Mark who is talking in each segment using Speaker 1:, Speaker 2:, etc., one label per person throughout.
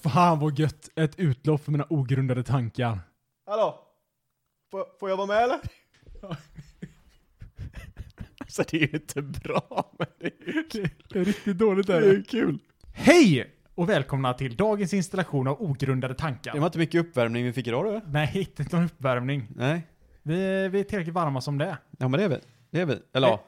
Speaker 1: Fan vad gött. Ett utlopp för mina ogrundade tankar.
Speaker 2: Hallå? Får, får jag vara med eller?
Speaker 3: Alltså det är ju inte bra, men det är ju kul.
Speaker 1: Det är riktigt dåligt
Speaker 3: Det är ju kul.
Speaker 1: Hej! Och välkomna till dagens installation av ogrundade tankar.
Speaker 3: Det var inte mycket uppvärmning vi fick idag då?
Speaker 1: Nej, inte någon uppvärmning.
Speaker 3: Nej.
Speaker 1: Vi, vi är tillräckligt varma som det är.
Speaker 3: Ja men det är vi. Det är vi. Eller ja.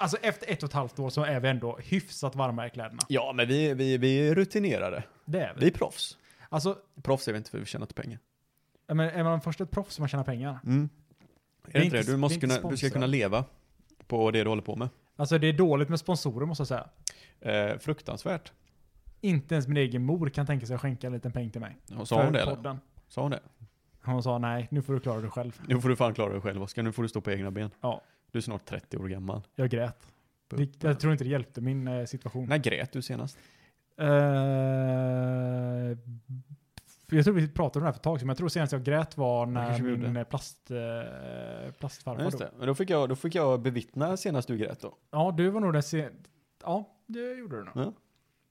Speaker 1: Alltså efter ett och ett halvt år så är vi ändå hyfsat varma i kläderna.
Speaker 3: Ja men vi, vi, vi är rutinerade.
Speaker 1: Det är vi.
Speaker 3: Vi är proffs.
Speaker 1: Alltså,
Speaker 3: Proffs är vi inte för vi tjänar inte pengar.
Speaker 1: ja, men är man först ett proffs som man tjänar pengar?
Speaker 2: Mm.
Speaker 3: Är
Speaker 1: Vi är
Speaker 3: det inte
Speaker 1: inte-
Speaker 3: det?
Speaker 1: vi
Speaker 3: Du,
Speaker 1: är
Speaker 3: måste
Speaker 1: inte
Speaker 3: kunna, du ska
Speaker 1: sponsrade.
Speaker 3: kunna leva på det du håller på med.
Speaker 1: Alltså det är dåligt med sponsorer måste jag säga.
Speaker 3: Eh, fruktansvärt.
Speaker 1: Inte ens min egen mor kan tänka sig att skänka en liten peng till mig.
Speaker 3: Ja, sa hon det eller?
Speaker 1: podden.
Speaker 3: Sa hon det?
Speaker 1: Hon sa nej, nu får du klara dig själv.
Speaker 3: Nu får du fan klara dig själv Oskar. Nu får du stå på egna ben.
Speaker 1: Ja.
Speaker 3: Du är snart 30 år gammal.
Speaker 1: Jag grät. Det, jag tror inte det hjälpte min eh, situation.
Speaker 3: När grät du senast?
Speaker 1: Eh, jag tror vi pratade om det här för ett tag sedan, men jag tror senast jag grät var när
Speaker 3: kanske vi
Speaker 1: min
Speaker 3: gjorde.
Speaker 1: eh, plast, eh,
Speaker 3: Ja,
Speaker 1: plastfarfar
Speaker 3: just
Speaker 1: dog.
Speaker 3: det. Men då fick, jag, då fick jag bevittna senast du grät då.
Speaker 1: Ja, du var nog den sen... Ja, det gjorde du nog.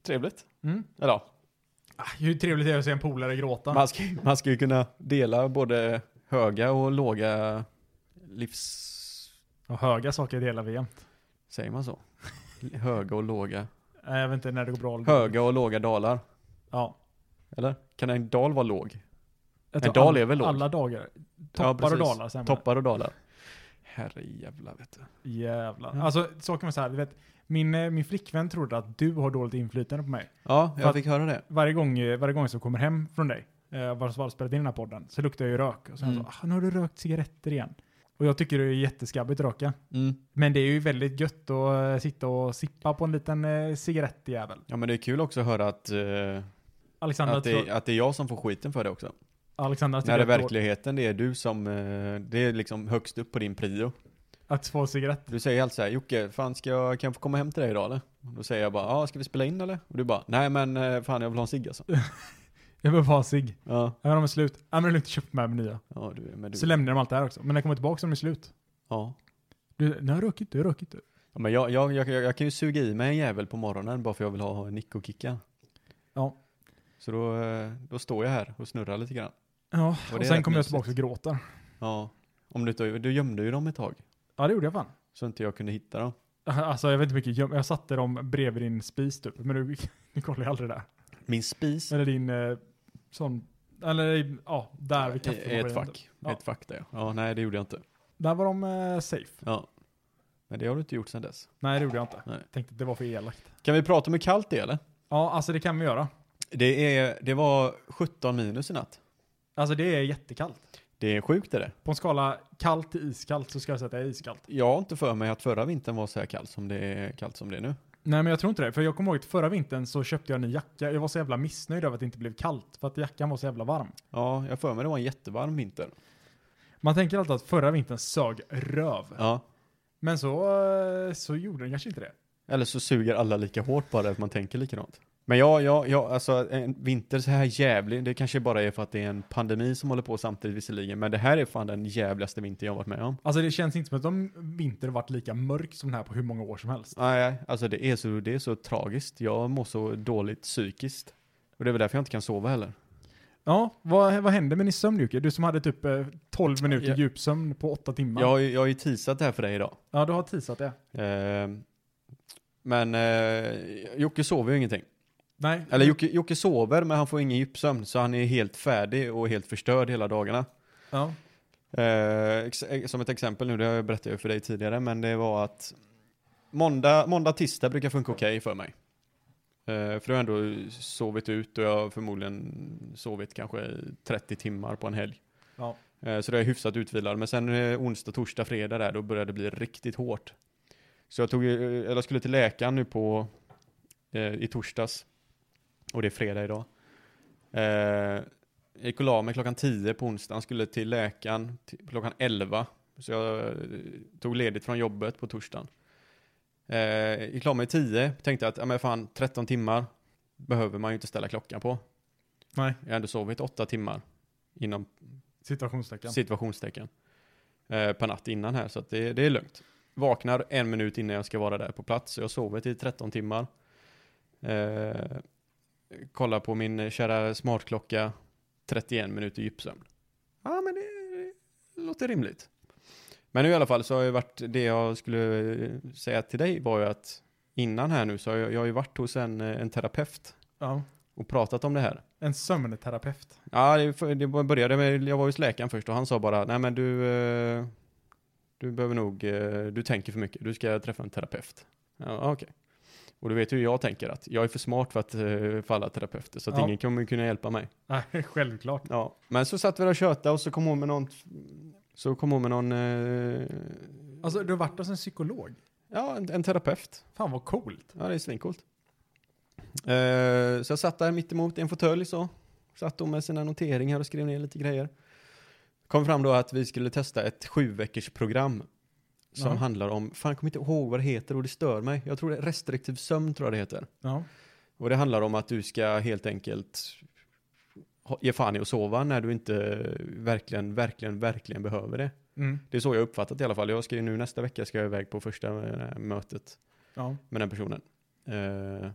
Speaker 3: Trevligt.
Speaker 1: Mm.
Speaker 3: Eller ja,
Speaker 1: Ah, hur trevligt är det att se en polare gråta?
Speaker 3: Man ska, ju- man ska ju kunna dela både höga och låga livs...
Speaker 1: Och höga saker delar vi jämt.
Speaker 3: Säger man så? Höga och låga.
Speaker 1: Eh, Jag vet inte när det går bra. eller dåligt.
Speaker 3: Höga och låga dalar.
Speaker 1: Ja.
Speaker 3: Eller? Kan en dal vara låg?
Speaker 1: Jag
Speaker 3: En
Speaker 1: tror
Speaker 3: dal
Speaker 1: all-
Speaker 3: är väl låg?
Speaker 1: Alla dagar. Toppar och
Speaker 3: precis.
Speaker 1: dalar. Sen
Speaker 3: Toppar och dalar. Herre jävla vet du.
Speaker 1: Jävlar.
Speaker 3: Ja.
Speaker 1: Alltså, saken var så här, du vet, min, eh, min flickvän trodde att du har dåligt inflytande på mig.
Speaker 3: Ja,
Speaker 1: För
Speaker 3: jag
Speaker 1: att-
Speaker 3: fick höra det.
Speaker 1: Varje gång, eh, varje gång som jag kommer hem från dig, eh, vars var spelat in den här podden, så luktar jag ju rök. Och sen
Speaker 3: Mm.
Speaker 1: så, ah, nu har du rökt cigaretter igen. Och jag tycker det är jätteskabbigt att röka.
Speaker 3: Mm.
Speaker 1: Men det är ju väldigt gött att eh, sitta och sippa på en liten eh, cigarettjävel.
Speaker 3: Ja men det är kul också att höra att, eh,
Speaker 1: Alexandra,
Speaker 3: att,
Speaker 1: tror,
Speaker 3: det, att det är jag som får skiten för det också.
Speaker 1: Alexandra
Speaker 3: När
Speaker 1: tycker
Speaker 3: det i
Speaker 1: att, då-
Speaker 3: verkligheten det är du som, eh, det är liksom högst upp på din prio.
Speaker 1: att få en cigarett.
Speaker 3: Du säger alltid såhär, Jocke, fan ska jag, kan jag få komma hem till dig idag eller? Och Då säger jag bara, ja ska vi spela in eller? Och du bara, nej men eh, fan jag vill ha en cigg alltså.
Speaker 1: Jag behöver ha en cigg.
Speaker 3: Ja,
Speaker 1: Ja, men de är slut. Ja, men det är lugnt, köp med mig nya.
Speaker 3: ja du, men du,
Speaker 1: Så lämnar de allt det här också. Men när jag kommer tillbaka så är de slut.
Speaker 3: ja.
Speaker 1: Du, nej, jag röker inte, jag röker inte.
Speaker 3: ja men jag, jag, jag, jag kan ju suga i mig en jävel på morgonen bara för jag vill ha en nick och kicka.
Speaker 1: Ja.
Speaker 3: Så då, eh, då står jag här och snurrar lite grann.
Speaker 1: Ja,
Speaker 3: det
Speaker 1: och,
Speaker 3: är
Speaker 1: sen
Speaker 3: rätt
Speaker 1: kommer jag
Speaker 3: mysigt.
Speaker 1: tillbaka och gråter.
Speaker 3: Ja. Om du, inte- du gömde ju dem ett tag,
Speaker 1: Ja, det gjorde jag fan.
Speaker 3: så inte jag kunde hitta dem.
Speaker 1: Alltså jag vet inte mycket, jag, jag satte dem bredvid din spis typ, men du, du kollar ju aldrig där.
Speaker 3: Min spis
Speaker 1: Eller din eh, sån, eller ja, där vid
Speaker 3: är
Speaker 1: kaffemaskinen.
Speaker 3: ett fack.
Speaker 1: Ja.
Speaker 3: Ett fack där ja. nej det gjorde jag inte.
Speaker 1: Där var de eh, safe.
Speaker 3: Ja. Men det har du inte gjort sedan dess.
Speaker 1: Nej, det gjorde jag inte.
Speaker 3: Nej.
Speaker 1: Tänkte att det var för elakt.
Speaker 3: Kan vi prata om hur kallt det är eller?
Speaker 1: Ja, alltså det kan vi göra.
Speaker 3: Det, är, det var 17 minus i natt.
Speaker 1: Alltså det är jättekallt.
Speaker 3: Det är sjukt är det.
Speaker 1: På en skala kallt till iskallt så ska jag säga att det är iskallt.
Speaker 3: Jag har inte för mig att förra vintern var så här kallt som det är, kallt som det är nu.
Speaker 1: Nej men jag tror inte det, för jag kommer ihåg att förra vintern så köpte jag en ny jacka. Jag var så jävla missnöjd över att det inte blev kallt, för att jackan var så jävla varm.
Speaker 3: Ja, jag har för mig det var en jättevarm vinter.
Speaker 1: Man tänker alltid att förra vintern sög röv.
Speaker 3: Ja.
Speaker 1: Men så, eh, så gjorde den kanske inte det.
Speaker 3: Eller så suger alla lika hårt bara att man tänker likadant. Men ja, ja, ja, alltså en vinter så här jävlig, det kanske bara är för att det är en pandemi som håller på samtidigt visserligen, men det här är fan den jävligaste vinter jag har varit med om.
Speaker 1: Alltså det känns inte som att de vinter varit lika mörk som den här på hur många år som helst.
Speaker 3: Nej, nej, alltså det är, så, det är så tragiskt. Jag mår så dåligt psykiskt. Och det är väl därför jag inte kan sova heller.
Speaker 1: Ja, vad, vad hände med din sömn Jocke? Du som hade typ eh, 12 minuter
Speaker 3: Ja.
Speaker 1: djupsömn på 8 timmar.
Speaker 3: Jag har ju, jag har ju teasat det här för dig idag.
Speaker 1: Ja, du har tisat det.
Speaker 3: Eh, men eh, Jocke sover ju ingenting.
Speaker 1: Nej.
Speaker 3: Eller Jocke, Jocke sover men han får ingen djupsömn så han är helt färdig och helt förstörd hela dagarna.
Speaker 1: Ja.
Speaker 3: Eh, ex- eh, som ett exempel nu, det har jag berättat ju för dig tidigare, men det var att måndag, måndag tisdag brukar funka okej för mig. Eh, för då har jag ändå sovit ut och jag har förmodligen sovit kanske 30 timmar på en helg.
Speaker 1: Ja.
Speaker 3: Eh, så det är jag hyfsat utvilad. Men sen eh, onsdag, torsdag, fredag där, då började det bli riktigt hårt. Så jag, tog, eh, eller jag skulle till läkaren nu på, eh, i torsdags. Och det är fredag idag. Eh, jag gick och la mig klockan 10 på onsdagen, skulle till läkaren till klockan 11. Så jag eh, tog ledigt från jobbet på torsdagen. Eh, gick och la mig 10, tänkte att ja, men fan, 13 timmar behöver man ju inte ställa klockan på.
Speaker 1: Nej.
Speaker 3: Jag har ändå sovit 8 timmar inom
Speaker 1: Situationstecken.
Speaker 3: situationstecken eh, per natt innan här, så att det, det är lugnt. Vaknar en minut innan jag ska vara där på plats, så jag sover i 13 timmar. Eh, kolla på min eh, kära smartklocka 31 minuter djupsömn. Ja, men det, det låter rimligt. Men nu i alla fall så har jag varit, det jag skulle eh, säga till dig var ju att innan här nu så har jag, jag har ju varit hos en, eh, en terapeut
Speaker 1: Ja.
Speaker 3: och pratat om det här.
Speaker 1: En sömnterapeut.
Speaker 3: Ja, det, för- det började med, jag var hos läkaren först och han sa bara, nej men du, eh, du behöver nog, eh, du tänker för mycket, du ska träffa en terapeut. Ja, ah, okej. Och du vet ju hur jag tänker att jag är för smart för att eh, för alla terapeuter, så att
Speaker 1: Ja.
Speaker 3: ingen kommer kunna hjälpa mig.
Speaker 1: Nej, självklart.
Speaker 3: Ja, men så satt vi där och tjötade och så kom hon med någon, så kom hon med någon, eh,
Speaker 1: Alltså, du har varit hos en psykolog.
Speaker 3: ja, en, en terapeut.
Speaker 1: Fan vad coolt.
Speaker 3: Ja, det är svincoolt. Eh, så jag satt där mittemot i en fåtölj så. Satt hon med sina noteringar och skrev ner lite grejer. Kom fram då att vi skulle testa ett sju veckors program. Som
Speaker 1: Ja.
Speaker 3: handlar om, fan jag kommer inte ihåg vad det heter och det stör mig. Jag tror det är restriktiv sömn tror jag det heter.
Speaker 1: Ja.
Speaker 3: Och det handlar om att du ska helt enkelt ha- ge fan i att sova när du inte verkligen, verkligen, verkligen behöver det.
Speaker 1: Mm.
Speaker 3: Det är så jag uppfattat i alla fall. Jag ska ju nu nästa vecka ska jag iväg på första eh, mötet
Speaker 1: Ja.
Speaker 3: med den personen. Eh,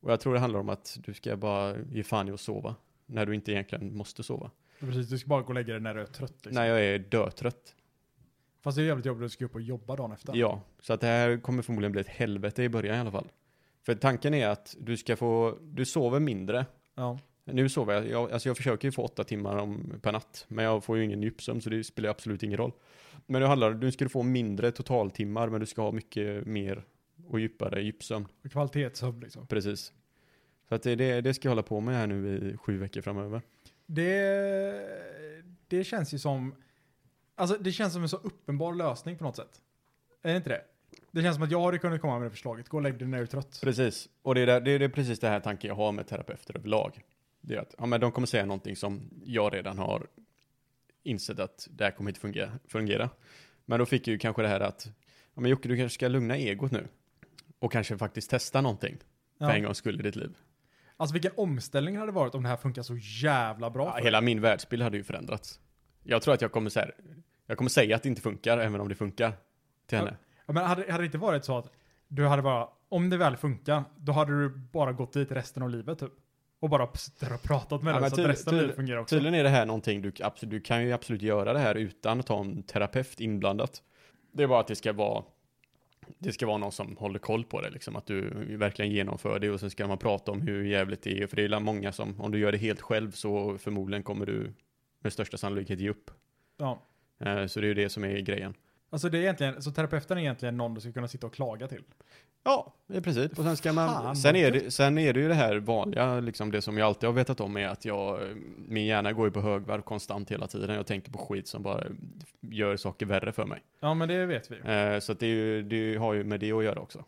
Speaker 3: och jag tror det handlar om att du ska bara ge fan i att sova när du inte egentligen måste sova.
Speaker 1: Precis, du ska bara gå och lägga dig när du är trött. Liksom.
Speaker 3: När jag är dötrött.
Speaker 1: Fast det är jävligt jobbigt att du ska upp och jobba dagen efter.
Speaker 3: Ja, så att det här kommer förmodligen bli ett helvete i början i alla fall. För tanken är att du ska få, du sover mindre.
Speaker 1: Ja.
Speaker 3: Nu sover jag, jag alltså jag försöker ju få åtta timmar om, per natt, men jag får ju ingen djupsömn så det spelar ju absolut ingen roll. Men nu handlar det, nu ska du få mindre totaltimmar men du ska ha mycket mer och djupare djupsömn.
Speaker 1: Och Kvalitetssömn liksom.
Speaker 3: Precis. Så att det, det, det ska jag hålla på med här nu i sju veckor framöver.
Speaker 1: Det, det känns ju som... Alltså det känns som en så uppenbar lösning på något sätt. Är det inte det? Det känns som att jag hade kunnat komma med det förslaget. Gå och lägg dig när du är trött.
Speaker 3: Precis. Och det är, där, det, är, det är precis det här tanken jag har med terapeuter överlag. Det är att ja, men de kommer säga någonting som jag redan har insett att det här kommer inte fungera. fungera. Men då fick jag ju kanske det här att ja, men Jocke, du kanske ska lugna egot nu. Och kanske faktiskt testa någonting för en
Speaker 1: Ja.
Speaker 3: gångs skull i ditt liv.
Speaker 1: Alltså vilken omställning hade det varit om det här funkar så jävla bra
Speaker 3: Ja,
Speaker 1: för
Speaker 3: hela min världsbild hade ju förändrats. Jag tror att jag kommer, så här, jag kommer säga att det inte funkar, även om det funkar
Speaker 1: Ja.
Speaker 3: till henne.
Speaker 1: Ja, men hade, hade det inte varit så att du hade bara, om det väl funkar, då hade du bara gått dit resten av livet typ? Och bara suttit och pratat med
Speaker 3: Ja,
Speaker 1: den
Speaker 3: men
Speaker 1: så
Speaker 3: tydl-
Speaker 1: att resten av
Speaker 3: tydl-
Speaker 1: livet fungerar också.
Speaker 3: Tydligen är det här någonting du, absolut, du kan ju absolut göra det här utan att ha en terapeut inblandat. Det är bara att det ska vara det ska vara någon som håller koll på det, liksom att du verkligen genomför det och sen ska man prata om hur jävligt det är, för det är ju många som, om du gör det helt själv så förmodligen kommer du med största sannolikhet ge upp.
Speaker 1: Ja.
Speaker 3: Eh, Så det är ju det som är grejen.
Speaker 1: Alltså det är egentligen, så terapeuten är egentligen någon du ska kunna sitta och klaga till.
Speaker 3: Ja, i princip. Och sen ska
Speaker 1: Fan,
Speaker 3: man, sen är,
Speaker 1: vad
Speaker 3: det, sen är det ju det här vanliga, liksom det som jag alltid har vetat om är att jag, min hjärna går ju på högvarv konstant hela tiden. Jag tänker på skit som bara gör saker värre för mig.
Speaker 1: Ja men det vet vi ju.
Speaker 3: Eh, så att det, är ju, det har ju med det att göra också.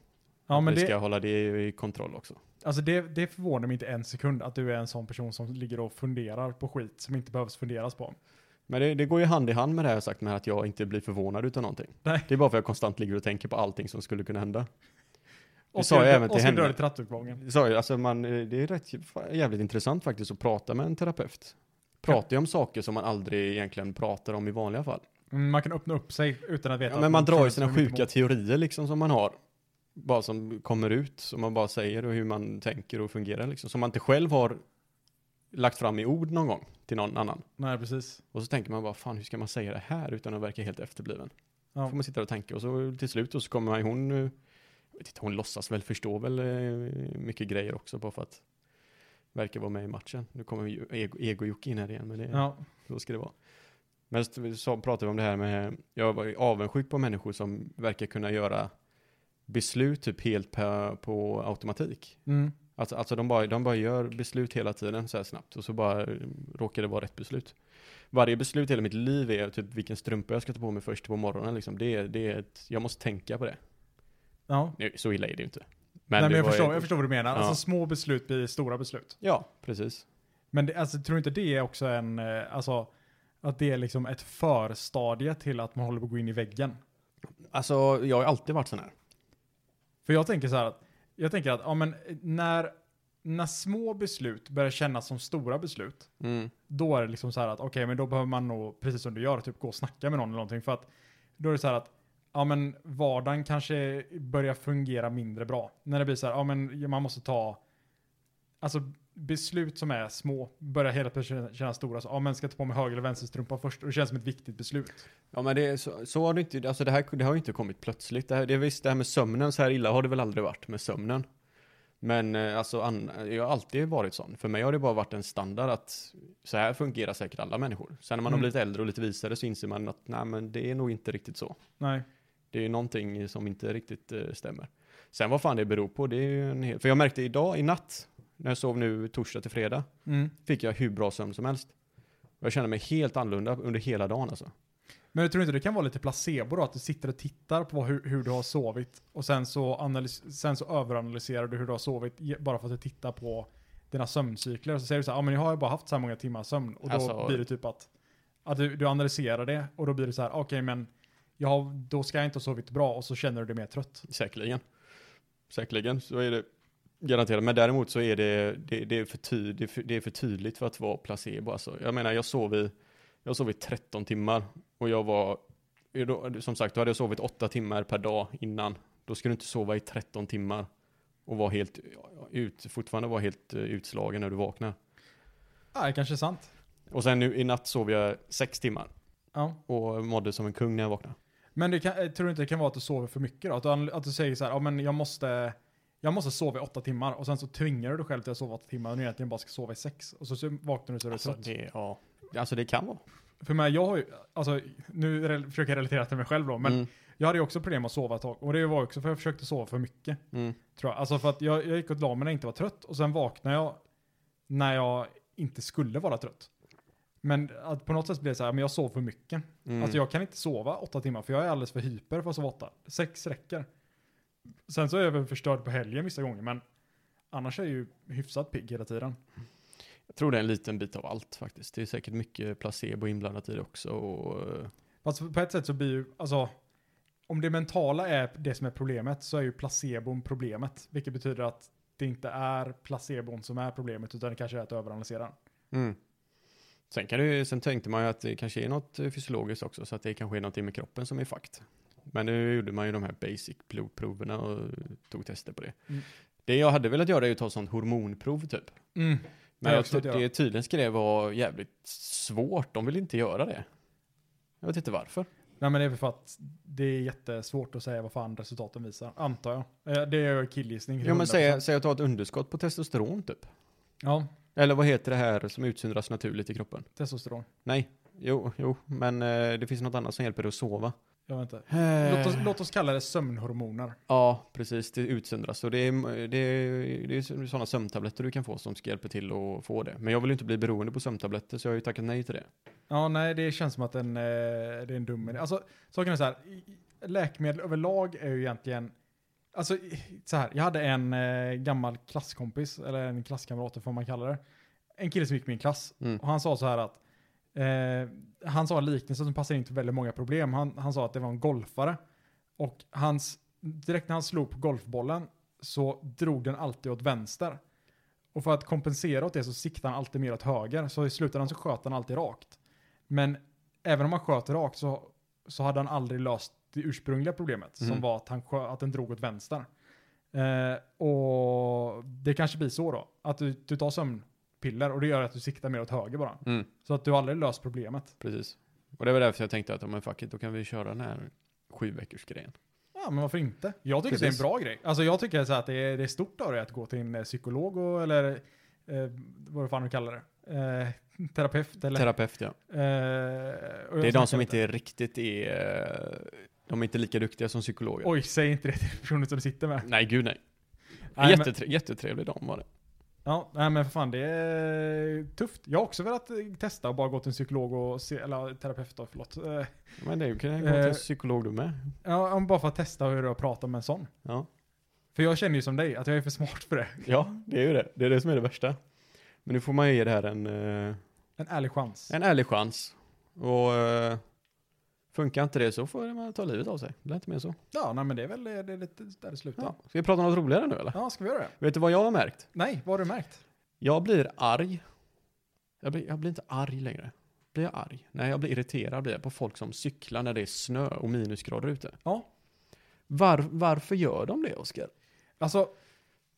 Speaker 1: Ja men
Speaker 3: Vi ska
Speaker 1: det,
Speaker 3: hålla det i kontroll också.
Speaker 1: alltså det, det förvånar mig inte en sekund att du är en sån person som ligger och funderar på skit som inte behövs funderas på.
Speaker 3: Men det, det går ju hand i hand med det här jag sagt med att jag inte blir förvånad utan någonting.
Speaker 1: Nej.
Speaker 3: Det är bara för att jag konstant ligger och tänker på allting som skulle kunna hända.
Speaker 1: Och
Speaker 3: sa jag även till henne.
Speaker 1: dör i trappuppgången.
Speaker 3: Så, alltså man, eh, det är rätt jävligt intressant faktiskt att prata med en terapeut. Pratar ju om saker som man aldrig egentligen pratar om i vanliga fall.
Speaker 1: Mm, Man kan öppna upp sig utan att veta.
Speaker 3: Ja,
Speaker 1: att
Speaker 3: men man drar ju
Speaker 1: föds
Speaker 3: sina
Speaker 1: med mitt
Speaker 3: sjuka
Speaker 1: emot.
Speaker 3: teorier liksom som man har. Bara som kommer ut, som man bara säger och hur man tänker och fungerar liksom. Som man inte själv har lagt fram i ord någon gång till någon annan.
Speaker 1: Nej precis.
Speaker 3: Och så tänker man bara, fan hur ska man säga det här utan att verka helt efterbliven?
Speaker 1: Ja.
Speaker 3: Får man sitta och tänka och så till slut och så kommer man, hon, eh, jag vet inte, hon låtsas väl förstå väl eh, mycket grejer också bara för att verka vara med i matchen. Nu kommer ju ego- ego-Jocke in här igen, men det,
Speaker 1: Ja.
Speaker 3: så ska det vara. Men så- så pratade vi om det här med, jag var ju avundsjuk på människor som verkar kunna göra beslut typ helt på, på automatik.
Speaker 1: Mm.
Speaker 3: Alltså, alltså de, bara, de bara gör beslut hela tiden så här snabbt och så bara eh, råkar det vara rätt beslut. Varje beslut i hela mitt liv är typ vilken strumpa jag ska ta på mig först på morgonen liksom. Det, är- det är ett, jag måste tänka på det.
Speaker 1: Ja.
Speaker 3: Nu, så illa är det ju inte.
Speaker 1: Nej,
Speaker 3: det
Speaker 1: men jag,
Speaker 3: var ju-
Speaker 1: förstår, jag förstår vad du menar.
Speaker 3: Ja.
Speaker 1: Alltså små beslut blir stora beslut.
Speaker 3: Ja, precis.
Speaker 1: Men det, alltså, tror du inte det är också en, eh, alltså, att det är liksom ett förstadie till att man håller på att gå in i väggen?
Speaker 3: Alltså jag har alltid varit sån här.
Speaker 1: För jag tänker så här att, jag tänker att, ja men eh, när, när små beslut börjar kännas som stora beslut,
Speaker 3: Mm.
Speaker 1: då är det liksom så här att, okej men då behöver man nog, precis som du gör, typ gå och snacka med någon eller någonting. För att då är det så här att, ja men vardagen kanske börjar fungera mindre bra. När det blir så här, ja men man måste ta, alltså beslut som är små börjar hela tiden kännas stora. Så, ja, men ska jag ta på mig höger eller vänsterstrumpa först? Och det känns som ett viktigt beslut.
Speaker 3: Ja men det, är så, så har det inte, alltså det här det har ju inte kommit plötsligt. Det, här, det är visst, det här med sömnen, så här illa har det väl aldrig varit med sömnen. Men eh, alltså, an, jag har alltid varit sån. För mig har det bara varit en standard att så här fungerar säkert alla människor. Sen när man har
Speaker 1: Mm.
Speaker 3: blivit äldre och lite visare så inser man att nej men det är nog inte riktigt så.
Speaker 1: Nej.
Speaker 3: Det är ju någonting som inte riktigt eh, stämmer. Sen vad fan det beror på, det är ju en hel... För jag märkte idag, i natt, när jag sov nu torsdag till fredag,
Speaker 1: Mm.
Speaker 3: fick jag hur bra sömn som helst. Jag kände mig helt annorlunda under hela dagen alltså.
Speaker 1: Men jag tror inte det kan vara lite placebo då? Att du sitter och tittar på hur, hur du har sovit och sen så, analys, sen så överanalyserar du hur du har sovit ge- bara för att du tittar på dina sömncykler. Och så säger du så här, ja men jag har ju bara haft så här många timmar sömn. Och då
Speaker 3: Alltså-
Speaker 1: blir det typ att, att du, du analyserar det och då blir det så här, okej men jag har, då ska jag inte ha sovit bra och så känner du dig mer trött.
Speaker 3: Säkerligen. Säkerligen så är det garanterat. Men däremot så är det, det, det, är, för ty, det, är för, det är för tydligt för att vara placebo. Alltså. Jag menar, jag sov, i, jag sov i 13 timmar och jag var, då- som sagt, då hade jag sovit 8 timmar per dag innan. Då skulle du inte sova i 13 timmar och vara helt ut, fortfarande vara helt eh, utslagen när du vaknar.
Speaker 1: Ja, det kanske är sant.
Speaker 3: Och sen nu i natt sov jag 6 timmar
Speaker 1: Ja.
Speaker 3: och mådde som en kung när jag vaknade.
Speaker 1: Men det kan, jag tror inte det kan vara att du sover för mycket då? Att du, an- att du säger så här, ja men jag måste, jag måste sova i åtta timmar och sen så tvingar du dig själv till att sova åtta timmar och du egentligen bara ska sova i sex. Och så, så vaknar du så är du
Speaker 3: Alltså
Speaker 1: trött.
Speaker 3: det, ja. alltså det kan vara.
Speaker 1: För mig, jag har ju, alltså nu rel- försöker jag relatera till mig själv då, men
Speaker 3: Mm,
Speaker 1: jag hade ju också problem med att sova ett tag. Och det var också för jag försökte sova för mycket.
Speaker 3: mm.
Speaker 1: Tror jag. Alltså för att jag, jag gick och la mig när jag inte var trött och sen vaknade jag när jag inte skulle vara trött. Men att på något sätt blev det så här, men jag sov för mycket.
Speaker 3: Mm.
Speaker 1: Alltså jag kan inte sova åtta timmar för jag är alldeles för hyper för att sova åtta. Sex räcker. Sen så är jag väl förstörd på helgen vissa gånger men annars är jag ju hyfsat pigg hela tiden.
Speaker 3: Jag tror det är en liten bit av allt faktiskt. Det är säkert mycket placebo inblandat i det också. Och, eh,
Speaker 1: Fast på ett sätt så blir ju, alltså om det mentala är det som är problemet så är ju placebon problemet. Vilket betyder att det inte är placebon som är problemet utan det kanske är att överanalysera den.
Speaker 3: sen, kan det, ju- sen tänkte man ju att det kanske är något eh, fysiologiskt också, så att det kanske är någonting med kroppen som är fakt. Men nu gjorde man ju de här basic blodproverna och tog tester på det.
Speaker 1: Mm.
Speaker 3: Det jag hade velat göra är ju att ta sånt hormonprov typ.
Speaker 1: Mm. Det har jag
Speaker 3: Men jag
Speaker 1: också
Speaker 3: också,
Speaker 1: velat göra.
Speaker 3: det tydligen ska det vara jävligt svårt. De vill inte göra det. Jag vet inte varför.
Speaker 1: Nej men det är väl för att det är jättesvårt att säga vad fan resultaten visar. Antar jag. Eh, Det är ju killgissning.
Speaker 3: Ja, men
Speaker 1: 100%.
Speaker 3: säg, säg att du har ett underskott på testosteron typ.
Speaker 1: Ja,
Speaker 3: Eller vad heter det här som utsöndras naturligt i kroppen?
Speaker 1: testosteron.
Speaker 3: Nej, jo, jo, men eh, det finns något annat som hjälper dig att sova.
Speaker 1: Jag vet inte. Låt oss, låt oss kalla det sömnhormoner.
Speaker 3: Ja, precis, det utsöndras. Och det är, det är, det är sådana sömntabletter du kan få som ska hjälpa till att få det. Men jag vill ju inte bli beroende på sömntabletter så jag har ju tackat nej till det.
Speaker 1: Ja, nej, det känns som att en, eh, det är en dum idé. Alltså, saken är så här, i- i- läkemedel överlag är ju egentligen, alltså i- så här, jag hade en eh, gammal klasskompis, eller en klasskamrat, eller vad man kallar det. En kille som gick i min klass,
Speaker 3: Mm.
Speaker 1: och han sa så här att, eh, han sa en liknelse som passar in till väldigt många problem. Han, han sa att det var en golfare, och hans, direkt när han slog på golfbollen så drog den alltid åt vänster. Och för att kompensera åt det så siktar han alltid mer åt höger, så i slutändan så sköt han alltid rakt. Men även om han sköt rakt så, så hade han aldrig löst det ursprungliga problemet som
Speaker 3: Mm.
Speaker 1: var att, han skö, att den drog åt vänster. Eh, och det kanske blir så då, att du, du tar sömnpiller och det gör att du siktar mer åt höger bara.
Speaker 3: Mm,
Speaker 1: Så att du har aldrig löst problemet.
Speaker 3: precis. Och det var därför jag tänkte att, om men fuck it, då kan vi köra den här sju veckors grejen.
Speaker 1: Ja, men varför inte? Jag tycker
Speaker 3: Precis.
Speaker 1: det är en bra grej. Alltså jag tycker så här att det är, det är stort av dig att gå till en eh, psykolog och, eller eh, vad fan du kallar det. Eh, terapeut eller... Eh,
Speaker 3: Terapeut, ja. Det är de som inte riktigt är, eh, de är inte lika duktiga som psykologer.
Speaker 1: Oj, säg inte det till personen som du sitter med.
Speaker 3: Nej, gud nej.
Speaker 1: Nej, men-
Speaker 3: Jättetre- Jättetrevlig dam var det.
Speaker 1: Ja, nej men för fan det är tufft. Jag har också velat eh, testa och bara gå till en psykolog och se, eller terapeut då, förlåt. Eh,
Speaker 3: Men det är ju- kan jag gå
Speaker 1: Eh.
Speaker 3: till psykolog du med.
Speaker 1: Ja, om bara för att testa hur det är att prata med en sån.
Speaker 3: Ja.
Speaker 1: För jag känner ju som dig, att jag är för smart för det.
Speaker 3: Ja, det är ju det. Det är det som är det värsta. Men nu får man ju ge det här en, eh,
Speaker 1: En ärlig chans.
Speaker 3: en ärlig chans. Och eh, funkar inte det så får man ta livet av sig. Det är inte mer så.
Speaker 1: Ja, nej men det är väl eh, det är lite där det slutar.
Speaker 3: Ja.
Speaker 1: Ja.
Speaker 3: Ska vi prata om något roligare nu eller?
Speaker 1: ska vi göra det?
Speaker 3: Vet du vad jag har märkt?
Speaker 1: Nej, vad har du märkt?
Speaker 3: Jag blir arg. Jag blir, jag blir inte arg längre. Blir jag arg? Nej, jag blir irriterad blir jag på folk som cyklar när det är snö och minusgrader ute.
Speaker 1: Ja.
Speaker 3: Var, varför gör de det, Oskar?
Speaker 1: Alltså,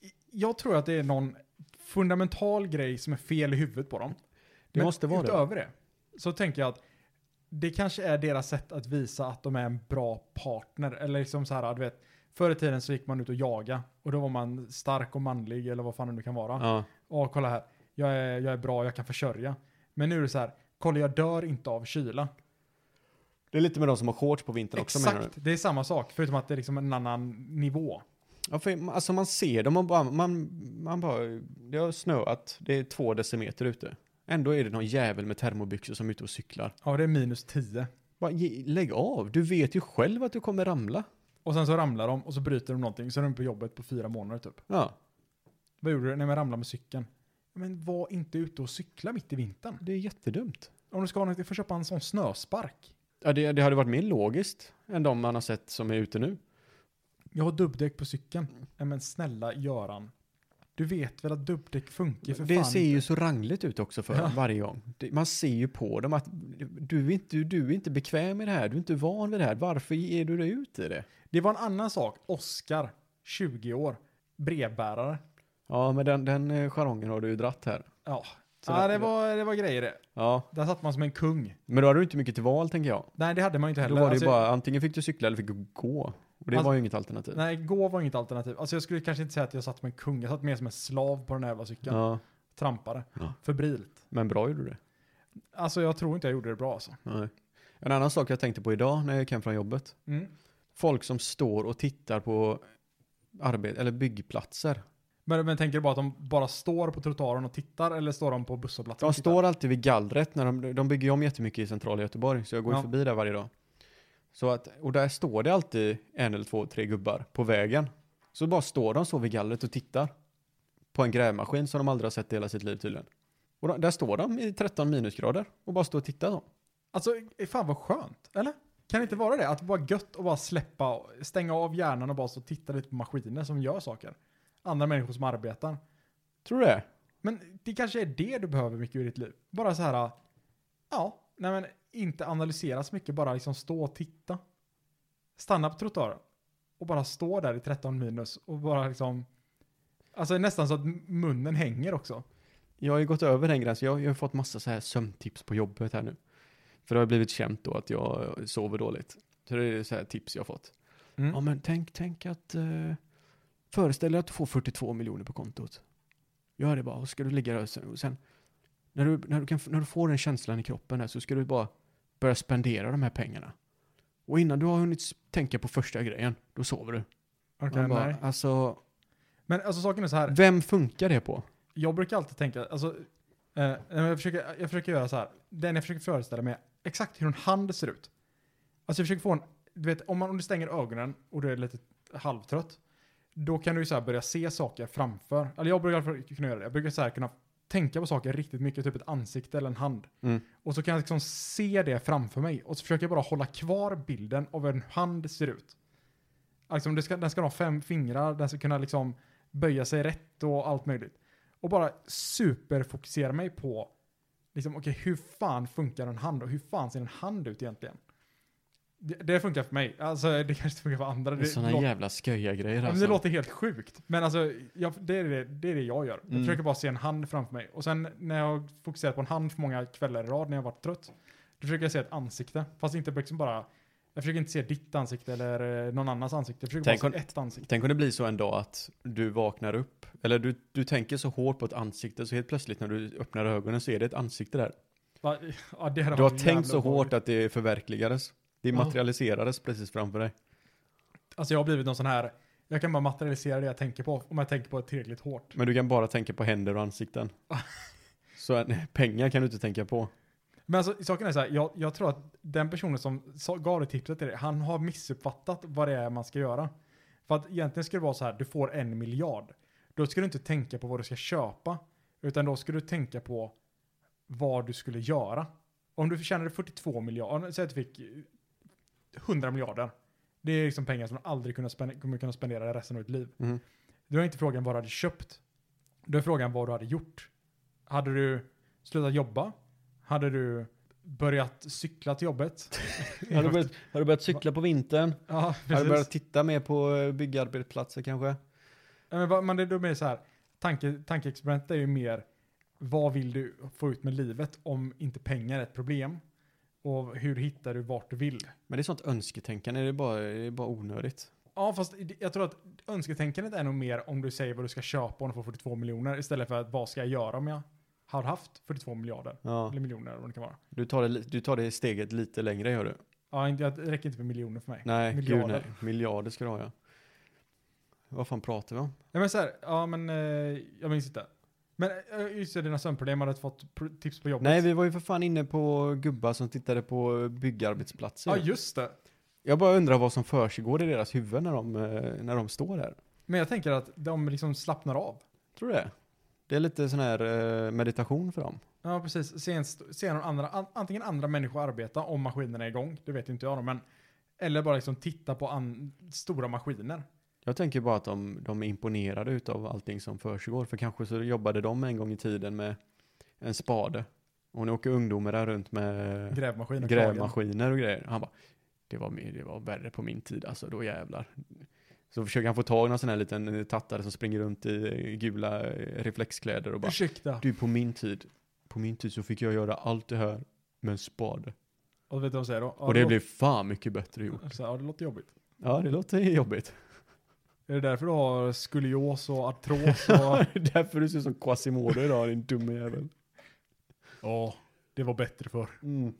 Speaker 1: i- jag tror att det är någon fundamental grej som är fel i huvudet på dem.
Speaker 3: Det måste vara det.
Speaker 1: utöver det. så tänker jag att det kanske är deras sätt att visa att de är en bra partner. Eller liksom så här, du vet, förr i tiden så gick man ut och jaga och då var man stark och manlig eller vad fan det nu kan vara.
Speaker 3: Ja.
Speaker 1: Åh, kolla här. Jag är, jag är bra, jag kan försörja. Men nu är det så här, kolla jag dör inte av kyla.
Speaker 3: Det är lite med de som har shorts på vintern också menar
Speaker 1: Exakt,
Speaker 3: du?
Speaker 1: det är samma sak. Förutom att det är liksom en annan nivå.
Speaker 3: Ja, för, alltså man ser dem och bara, man, man bara, det har snöat, det är två decimeter ute. Ändå är det någon jävel med termobyxor som är ute och cyklar.
Speaker 1: Ja, det är minus 10.
Speaker 3: Bara, ge, lägg av, du vet ju själv att du kommer ramla.
Speaker 1: Och sen så ramlar de och så bryter de någonting. Så är de på jobbet på fyra månader typ.
Speaker 3: Ja,
Speaker 1: Vad gjorde du? Nej, men ramlade med cykeln. Men var inte ute och cykla mitt i vintern.
Speaker 3: det är jättedumt.
Speaker 1: Om du ska ha något, du får köpa en sån snöspark.
Speaker 3: Ja, det, det hade varit mer logiskt än de man har sett som är ute nu.
Speaker 1: Jag har dubbdäck på cykeln. Nej, men snälla Göran. Du vet väl att dubbdäck funkar för
Speaker 3: Det
Speaker 1: fan
Speaker 3: ser
Speaker 1: inte.
Speaker 3: ju så rangligt ut också för
Speaker 1: Ja.
Speaker 3: varje gång. Det, man ser ju på dem att du är, inte, du är inte bekväm med det här, du är inte van vid det här. Varför ger du dig ut i det?
Speaker 1: Det var en annan sak. Oskar, 20 år, brevbärare.
Speaker 3: Ja, men den, den eh, charongen har du ju dratt här.
Speaker 1: Ja,
Speaker 3: Så
Speaker 1: ja
Speaker 3: där-
Speaker 1: det, var, det var grejer det.
Speaker 3: Ja,
Speaker 1: Där satt man som en kung.
Speaker 3: men då hade du inte mycket till val tänker jag.
Speaker 1: Nej, det hade man ju inte
Speaker 3: Då
Speaker 1: heller.
Speaker 3: var det ju
Speaker 1: Alltså,
Speaker 3: bara, antingen fick du cykla eller fick du gå. Och det
Speaker 1: Alltså-
Speaker 3: var ju inget alternativ.
Speaker 1: Nej, gå var inget alternativ. Alltså jag skulle kanske inte säga att jag satt som en kung. Jag satt mer som en slav på den här jävla cykeln.
Speaker 3: Ja,
Speaker 1: Trampade.
Speaker 3: Ja.
Speaker 1: Febrilt.
Speaker 3: men bra gjorde du det.
Speaker 1: Alltså jag tror inte jag gjorde det bra alltså.
Speaker 3: Nej. En annan sak jag tänkte på idag när jag gick hem från jobbet.
Speaker 1: Mm.
Speaker 3: folk som står och tittar på arbet eller byggplatser.
Speaker 1: Men, men tänker du bara att de bara står på trottoaren och tittar eller står de på busshållplatsen?
Speaker 3: De
Speaker 1: och tittar?
Speaker 3: står alltid vid gallret när de, de bygger ju om jättemycket i centrala Göteborg, så jag går ju
Speaker 1: Ja.
Speaker 3: förbi där varje dag. Så att, och där står det alltid en eller två, tre gubbar på vägen. Så bara står de så vid gallret och tittar på en grävmaskin som de aldrig har sett i hela sitt liv tydligen. Och de, där står de i 13 minusgrader och bara står och tittar så.
Speaker 1: Alltså, eh, fan vad skönt. Eller? Kan det inte vara det? Att vara gött och bara släppa, stänga av hjärnan och bara stå och titta lite på maskiner som gör saker. Andra människor som arbetar.
Speaker 3: Tror du det?
Speaker 1: Men det kanske är det du behöver mycket i ditt liv. Bara så här, ja, nej men inte analysera så mycket, bara liksom stå och titta. Stanna på trottoaren och bara stå där i 13 minus och bara liksom, alltså nästan så att munnen hänger också.
Speaker 3: Jag har ju gått över den gränsen. Jag, jag har fått massa så här sömntips på jobbet här nu. För det har blivit känt då att jag sover dåligt. Så det är så här tips jag har fått.
Speaker 1: Mm.
Speaker 3: Ja men tänk, tänk att... Eh, föreställ dig att du får 42 miljoner på kontot. Gör det bara och ska du ligga där och sen... Och sen när, du, när, du kan, när du får den känslan i kroppen här så ska du bara börja spendera de här pengarna. Och innan du har hunnit s- tänka på första grejen, då sover du.
Speaker 1: Okej,
Speaker 3: Man bara,
Speaker 1: nej.
Speaker 3: alltså,
Speaker 1: Men alltså saken är så här,
Speaker 3: vem funkar det på?
Speaker 1: jag brukar alltid tänka, alltså, eh, jag, försöker, jag försöker göra så här, den jag försöker föreställa mig är exakt hur en hand ser ut. Alltså jag försöker få en, du vet om, man, om du stänger ögonen och du är lite halvtrött, då kan du ju så här börja se saker framför. Eller jag brukar i alla fall kunna göra det, jag brukar så här kunna tänka på saker riktigt mycket, typ ett ansikte eller en hand.
Speaker 3: Mm.
Speaker 1: Och så kan jag liksom se det framför mig och så försöker jag bara hålla kvar bilden av hur en hand ser ut. Alltså, det ska, den ska ha fem fingrar, den ska kunna liksom böja sig rätt och allt möjligt och bara superfokusera mig på liksom, okej, hur fan funkar en hand och hur fan ser en hand ut egentligen? Det, det funkar för mig. Alltså, det kanske inte funkar för andra. Det,
Speaker 3: Sådana
Speaker 1: låter,
Speaker 3: jävla sköja grejer
Speaker 1: Ja, men
Speaker 3: alltså.
Speaker 1: det låter helt sjukt. Men alltså, jag, det, är det, det är det jag gör. Jag
Speaker 3: Mm.
Speaker 1: försöker bara se en hand framför mig. Och sen när jag har fokuserat på en hand för många kvällar i rad när jag har varit trött, då försöker jag se ett ansikte. Fast inte liksom bara, jag försöker inte se ditt ansikte eller eh, någon annans ansikte. Jag försöker
Speaker 3: Tänk
Speaker 1: bara
Speaker 3: om-
Speaker 1: se ett ansikte.
Speaker 3: Tänk om det blir så en dag att du vaknar upp, eller du, du tänker så hårt på ett ansikte så helt plötsligt när du öppnar ögonen så är det ett ansikte där.
Speaker 1: Va- Ja, det hade
Speaker 3: Du
Speaker 1: varit
Speaker 3: har tänkt
Speaker 1: jävla
Speaker 3: så
Speaker 1: obehagligt.
Speaker 3: hårt att det förverkligades. Det
Speaker 1: Ja.
Speaker 3: materialiserades precis framför dig.
Speaker 1: Alltså jag har blivit någon sån här, jag kan bara materialisera det jag tänker på om jag tänker på det tillräckligt hårt.
Speaker 3: Men du kan bara tänka på händer och ansikten. Så att- pengar kan du inte tänka på.
Speaker 1: Men alltså saken är så här, jag, jag tror att den personen som sa, gav det tipset till dig, han har missuppfattat vad det är man ska göra. För att egentligen skulle det vara så här, du får en miljard. Då ska du inte tänka på vad du ska köpa, utan då ska du tänka på vad du skulle göra. Om du förtjänade 42 miljarder, säg att du fick eh, 100 miljarder. Det är liksom pengar som du aldrig kunnat spendera, kommer kunna spendera resten av ditt liv.
Speaker 3: Mm.
Speaker 1: Du har inte frågan vad du hade köpt. Då är frågan vad du hade gjort. Hade du slutat jobba? Hade du börjat cykla till jobbet?
Speaker 3: Har du börjat, har du börjat cykla på vintern?
Speaker 1: ja,
Speaker 3: Har du
Speaker 1: precis.
Speaker 3: börjat titta mer på eh, byggarbetsplatser kanske?
Speaker 1: Ja, Men, vad- men det, då blir det så här. tanke, tankeexperimentet är ju mer vad vill du få ut med livet om inte pengar är ett problem? Och hur hittar du vart du vill?
Speaker 3: Men det är sånt önsketänkande, det är bara, det är bara onödigt.
Speaker 1: Ja, fast i- jag tror att önsketänkandet är nog mer om du säger vad du ska köpa om du får 42 miljoner istället för att vad ska jag göra om jag har haft 42 miljarder?
Speaker 3: Ja.
Speaker 1: Eller miljoner eller vad det kan vara.
Speaker 3: Du tar, det, li- du tar det steget lite längre gör du.
Speaker 1: Ja, inte- det räcker inte med miljoner för mig.
Speaker 3: Nej,
Speaker 1: Miljarder.
Speaker 3: miljarder. gud nej. Miljarder ska du ha ja. Vad fan pratar vi om?
Speaker 1: Nej men så här, ja men eh, jag minns inte. Men eh, just det, dina sömnproblem, hade du fått pr- tips på jobbet?
Speaker 3: Nej, vi var ju för fan inne på gubbar som tittade på eh, byggarbetsplatser.
Speaker 1: Ja
Speaker 3: ju.
Speaker 1: just det.
Speaker 3: Jag bara undrar vad som försiggår i deras huvud när de, eh, när de står där.
Speaker 1: Men jag tänker att de liksom slappnar av.
Speaker 3: Tror du det? Det är lite sån här eh, meditation för dem.
Speaker 1: Ja precis, se, en st- se någon andra, an, antingen andra människor arbeta om maskinerna är igång, det vet inte jag då, men eller bara liksom titta på an, stora maskiner.
Speaker 3: Jag tänker bara att de, de är imponerade utav allting som försiggår. För kanske så jobbade de en gång i tiden med en spade. Och nu åker ungdomar där runt med
Speaker 1: Grävmaskiner.
Speaker 3: grävmaskiner och grejer. Han bara, det var, mer- det var värre på min tid alltså, då jävlar. Så försöker han få tag i någon sån här liten eh, tattare som springer runt i eh, gula eh, reflexkläder och bara,
Speaker 1: Ursäkta.
Speaker 3: du på min tid, på min tid så fick jag göra allt det här med en spade.
Speaker 1: Och vet du vad de säger då? Ja,
Speaker 3: Och det
Speaker 1: låter-
Speaker 3: blev fan mycket bättre gjort.
Speaker 1: Så, här, ja det låter jobbigt.
Speaker 3: Ja, det låter jobbigt.
Speaker 1: Är det därför du har skolios och artros och...
Speaker 3: Det är därför du ser ut som Quasimodo idag, din dumme jävel.
Speaker 1: Ja, det var bättre förr.
Speaker 3: Mm.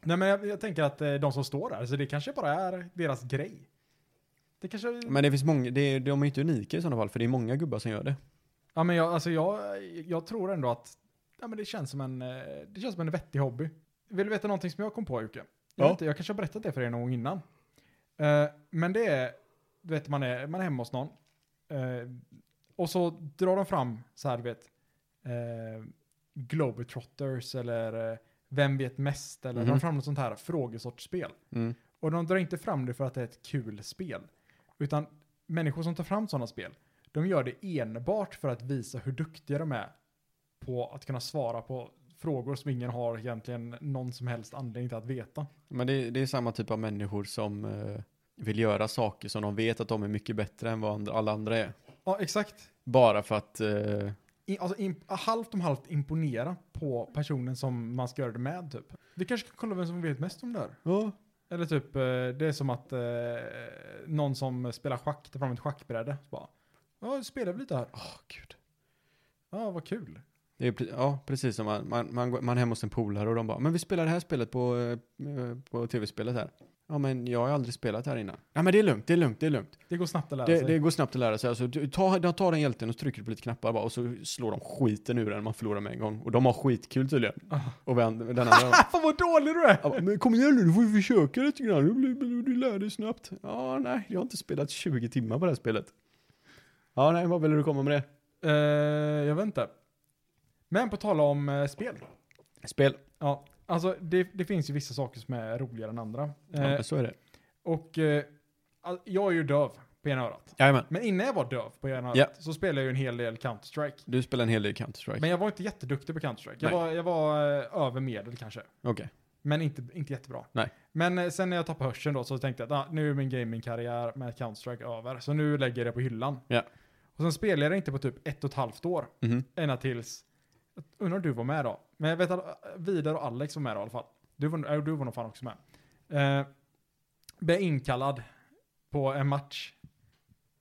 Speaker 1: Nej men jag, jag tänker att eh, de som står där, så det kanske bara är deras grej. Det kanske...
Speaker 3: Men det finns många, det är, de är inte unika i sådana fall, för det är många gubbar som gör det.
Speaker 1: ja men jag, alltså jag, jag tror ändå att ja, men det, känns som en, eh, det känns som en vettig hobby. Vill du veta någonting som jag kom på Jocke? Jag,
Speaker 3: Ja.
Speaker 1: vet inte, jag kanske har berättat det för er någon gång innan. Eh, men det är, du vet man är, man är hemma hos någon. eh, och så drar de fram så här du vet. eh, Globetrotters eller eh, Vem vet mest? Eller de
Speaker 3: Mhm.
Speaker 1: drar fram något sånt här frågesortspel.
Speaker 3: Mm.
Speaker 1: Och de drar inte fram det för att det är ett kul spel. Utan människor som tar fram sådana spel, de gör det enbart för att visa hur duktiga de är på att kunna svara på frågor som ingen har egentligen någon som helst anledning till att veta.
Speaker 3: Men det, det är samma typ av människor som eh, vill göra saker som de vet att de är mycket bättre än vad andra, alla andra är.
Speaker 1: Ja, exakt.
Speaker 3: Bara för att, eh,
Speaker 1: I, alltså, imp- halvt om halvt imponera på personen som man ska göra det med, typ. Vi kanske kan kolla vem som vet mest om det här.
Speaker 3: ja,
Speaker 1: Eller typ, eh, det är som att eh, någon som spelar schack tar fram ett schackbräde. Så bara, ja, spelar vi lite här?
Speaker 3: åh gud.
Speaker 1: Ja, vad kul.
Speaker 3: Det är, pre- ja, precis som man, man, man, går- man är hemma hos en polare och de bara, men vi spelar det här spelet på, eh, på tv-spelet här. Ja, men jag har aldrig spelat här innan. Ja, men det är lugnt, det är lugnt, det är lugnt.
Speaker 1: Det går snabbt att lära
Speaker 3: Det,
Speaker 1: sig.
Speaker 3: det går snabbt att lära sig. Alltså, du, ta, de tar den hjälten och trycker på lite knappar bara, och så slår de skiten ur den man förlorar med en gång. Och de har skitkul tydligen.
Speaker 1: Ah.
Speaker 3: Och vän- den andra bara,
Speaker 1: Fan vad dålig du är!
Speaker 3: Ja, bara, men kom igen nu, du får ju försöka lite grann. Du, blir- du, du lär dig snabbt. Ja, nej, jag har inte spelat 20 timmar på det här spelet. Ja, nej, vad vill du komma med det?
Speaker 1: Eh, jag vet inte. Men på tal om eh, spel.
Speaker 3: Spel.
Speaker 1: Ja, alltså det, det finns ju vissa saker som är roligare än andra.
Speaker 3: Ja,
Speaker 1: Eh,
Speaker 3: men så är det.
Speaker 1: och eh, all- jag är ju döv på ena örat.
Speaker 3: Jajamän.
Speaker 1: Men innan jag var döv på ena örat
Speaker 3: Ja.
Speaker 1: så spelade jag ju en hel del Counter-Strike.
Speaker 3: Du spelar en hel del Counter-Strike.
Speaker 1: Men jag var inte jätteduktig på Counter-Strike. Jag
Speaker 3: Nej.
Speaker 1: var, jag var eh, över medel kanske.
Speaker 3: Okej.
Speaker 1: Men inte, inte jättebra.
Speaker 3: Nej.
Speaker 1: Men eh, sen när jag tappade hörseln då så tänkte jag att ah, nu är min gamingkarriär med Counter-Strike över. Så nu lägger jag det på hyllan.
Speaker 3: Ja.
Speaker 1: Och sen spelade jag det inte på typ ett och ett halvt år.
Speaker 3: Mhm.
Speaker 1: Ända tills... Undrar om du var med då? Men jag vet att Vidar och Alex var med då i alla fall. Du var, äh, du var nog fan också med. Eh, blev inkallad på en match.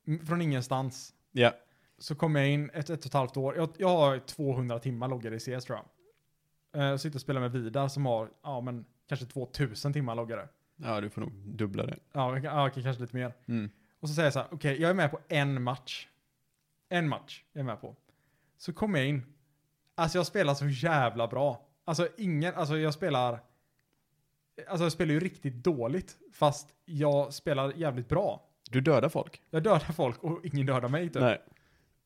Speaker 1: M- Från ingenstans.
Speaker 3: Ja.
Speaker 1: Så kom jag in ett, ett och ett halvt år. Jag, jag har 200 timmar loggade i CS tror jag. Eh, sitter och spelar med Vidar som har, ja men kanske 2000 timmar loggade.
Speaker 3: Ja, du får nog dubbla det.
Speaker 1: Ja, vi kan- ja okej, kanske lite mer.
Speaker 3: Mm.
Speaker 1: Och så säger jag så här, okej, jag är med på en match. En match jag är med på. Så kommer jag in. Alltså jag spelar så jävla bra. Alltså ingen, alltså jag spelar... Alltså jag spelar ju riktigt dåligt, fast jag spelar jävligt bra.
Speaker 3: Du dödar folk?
Speaker 1: Jag dödar folk och ingen dödar mig typ.
Speaker 3: Nej.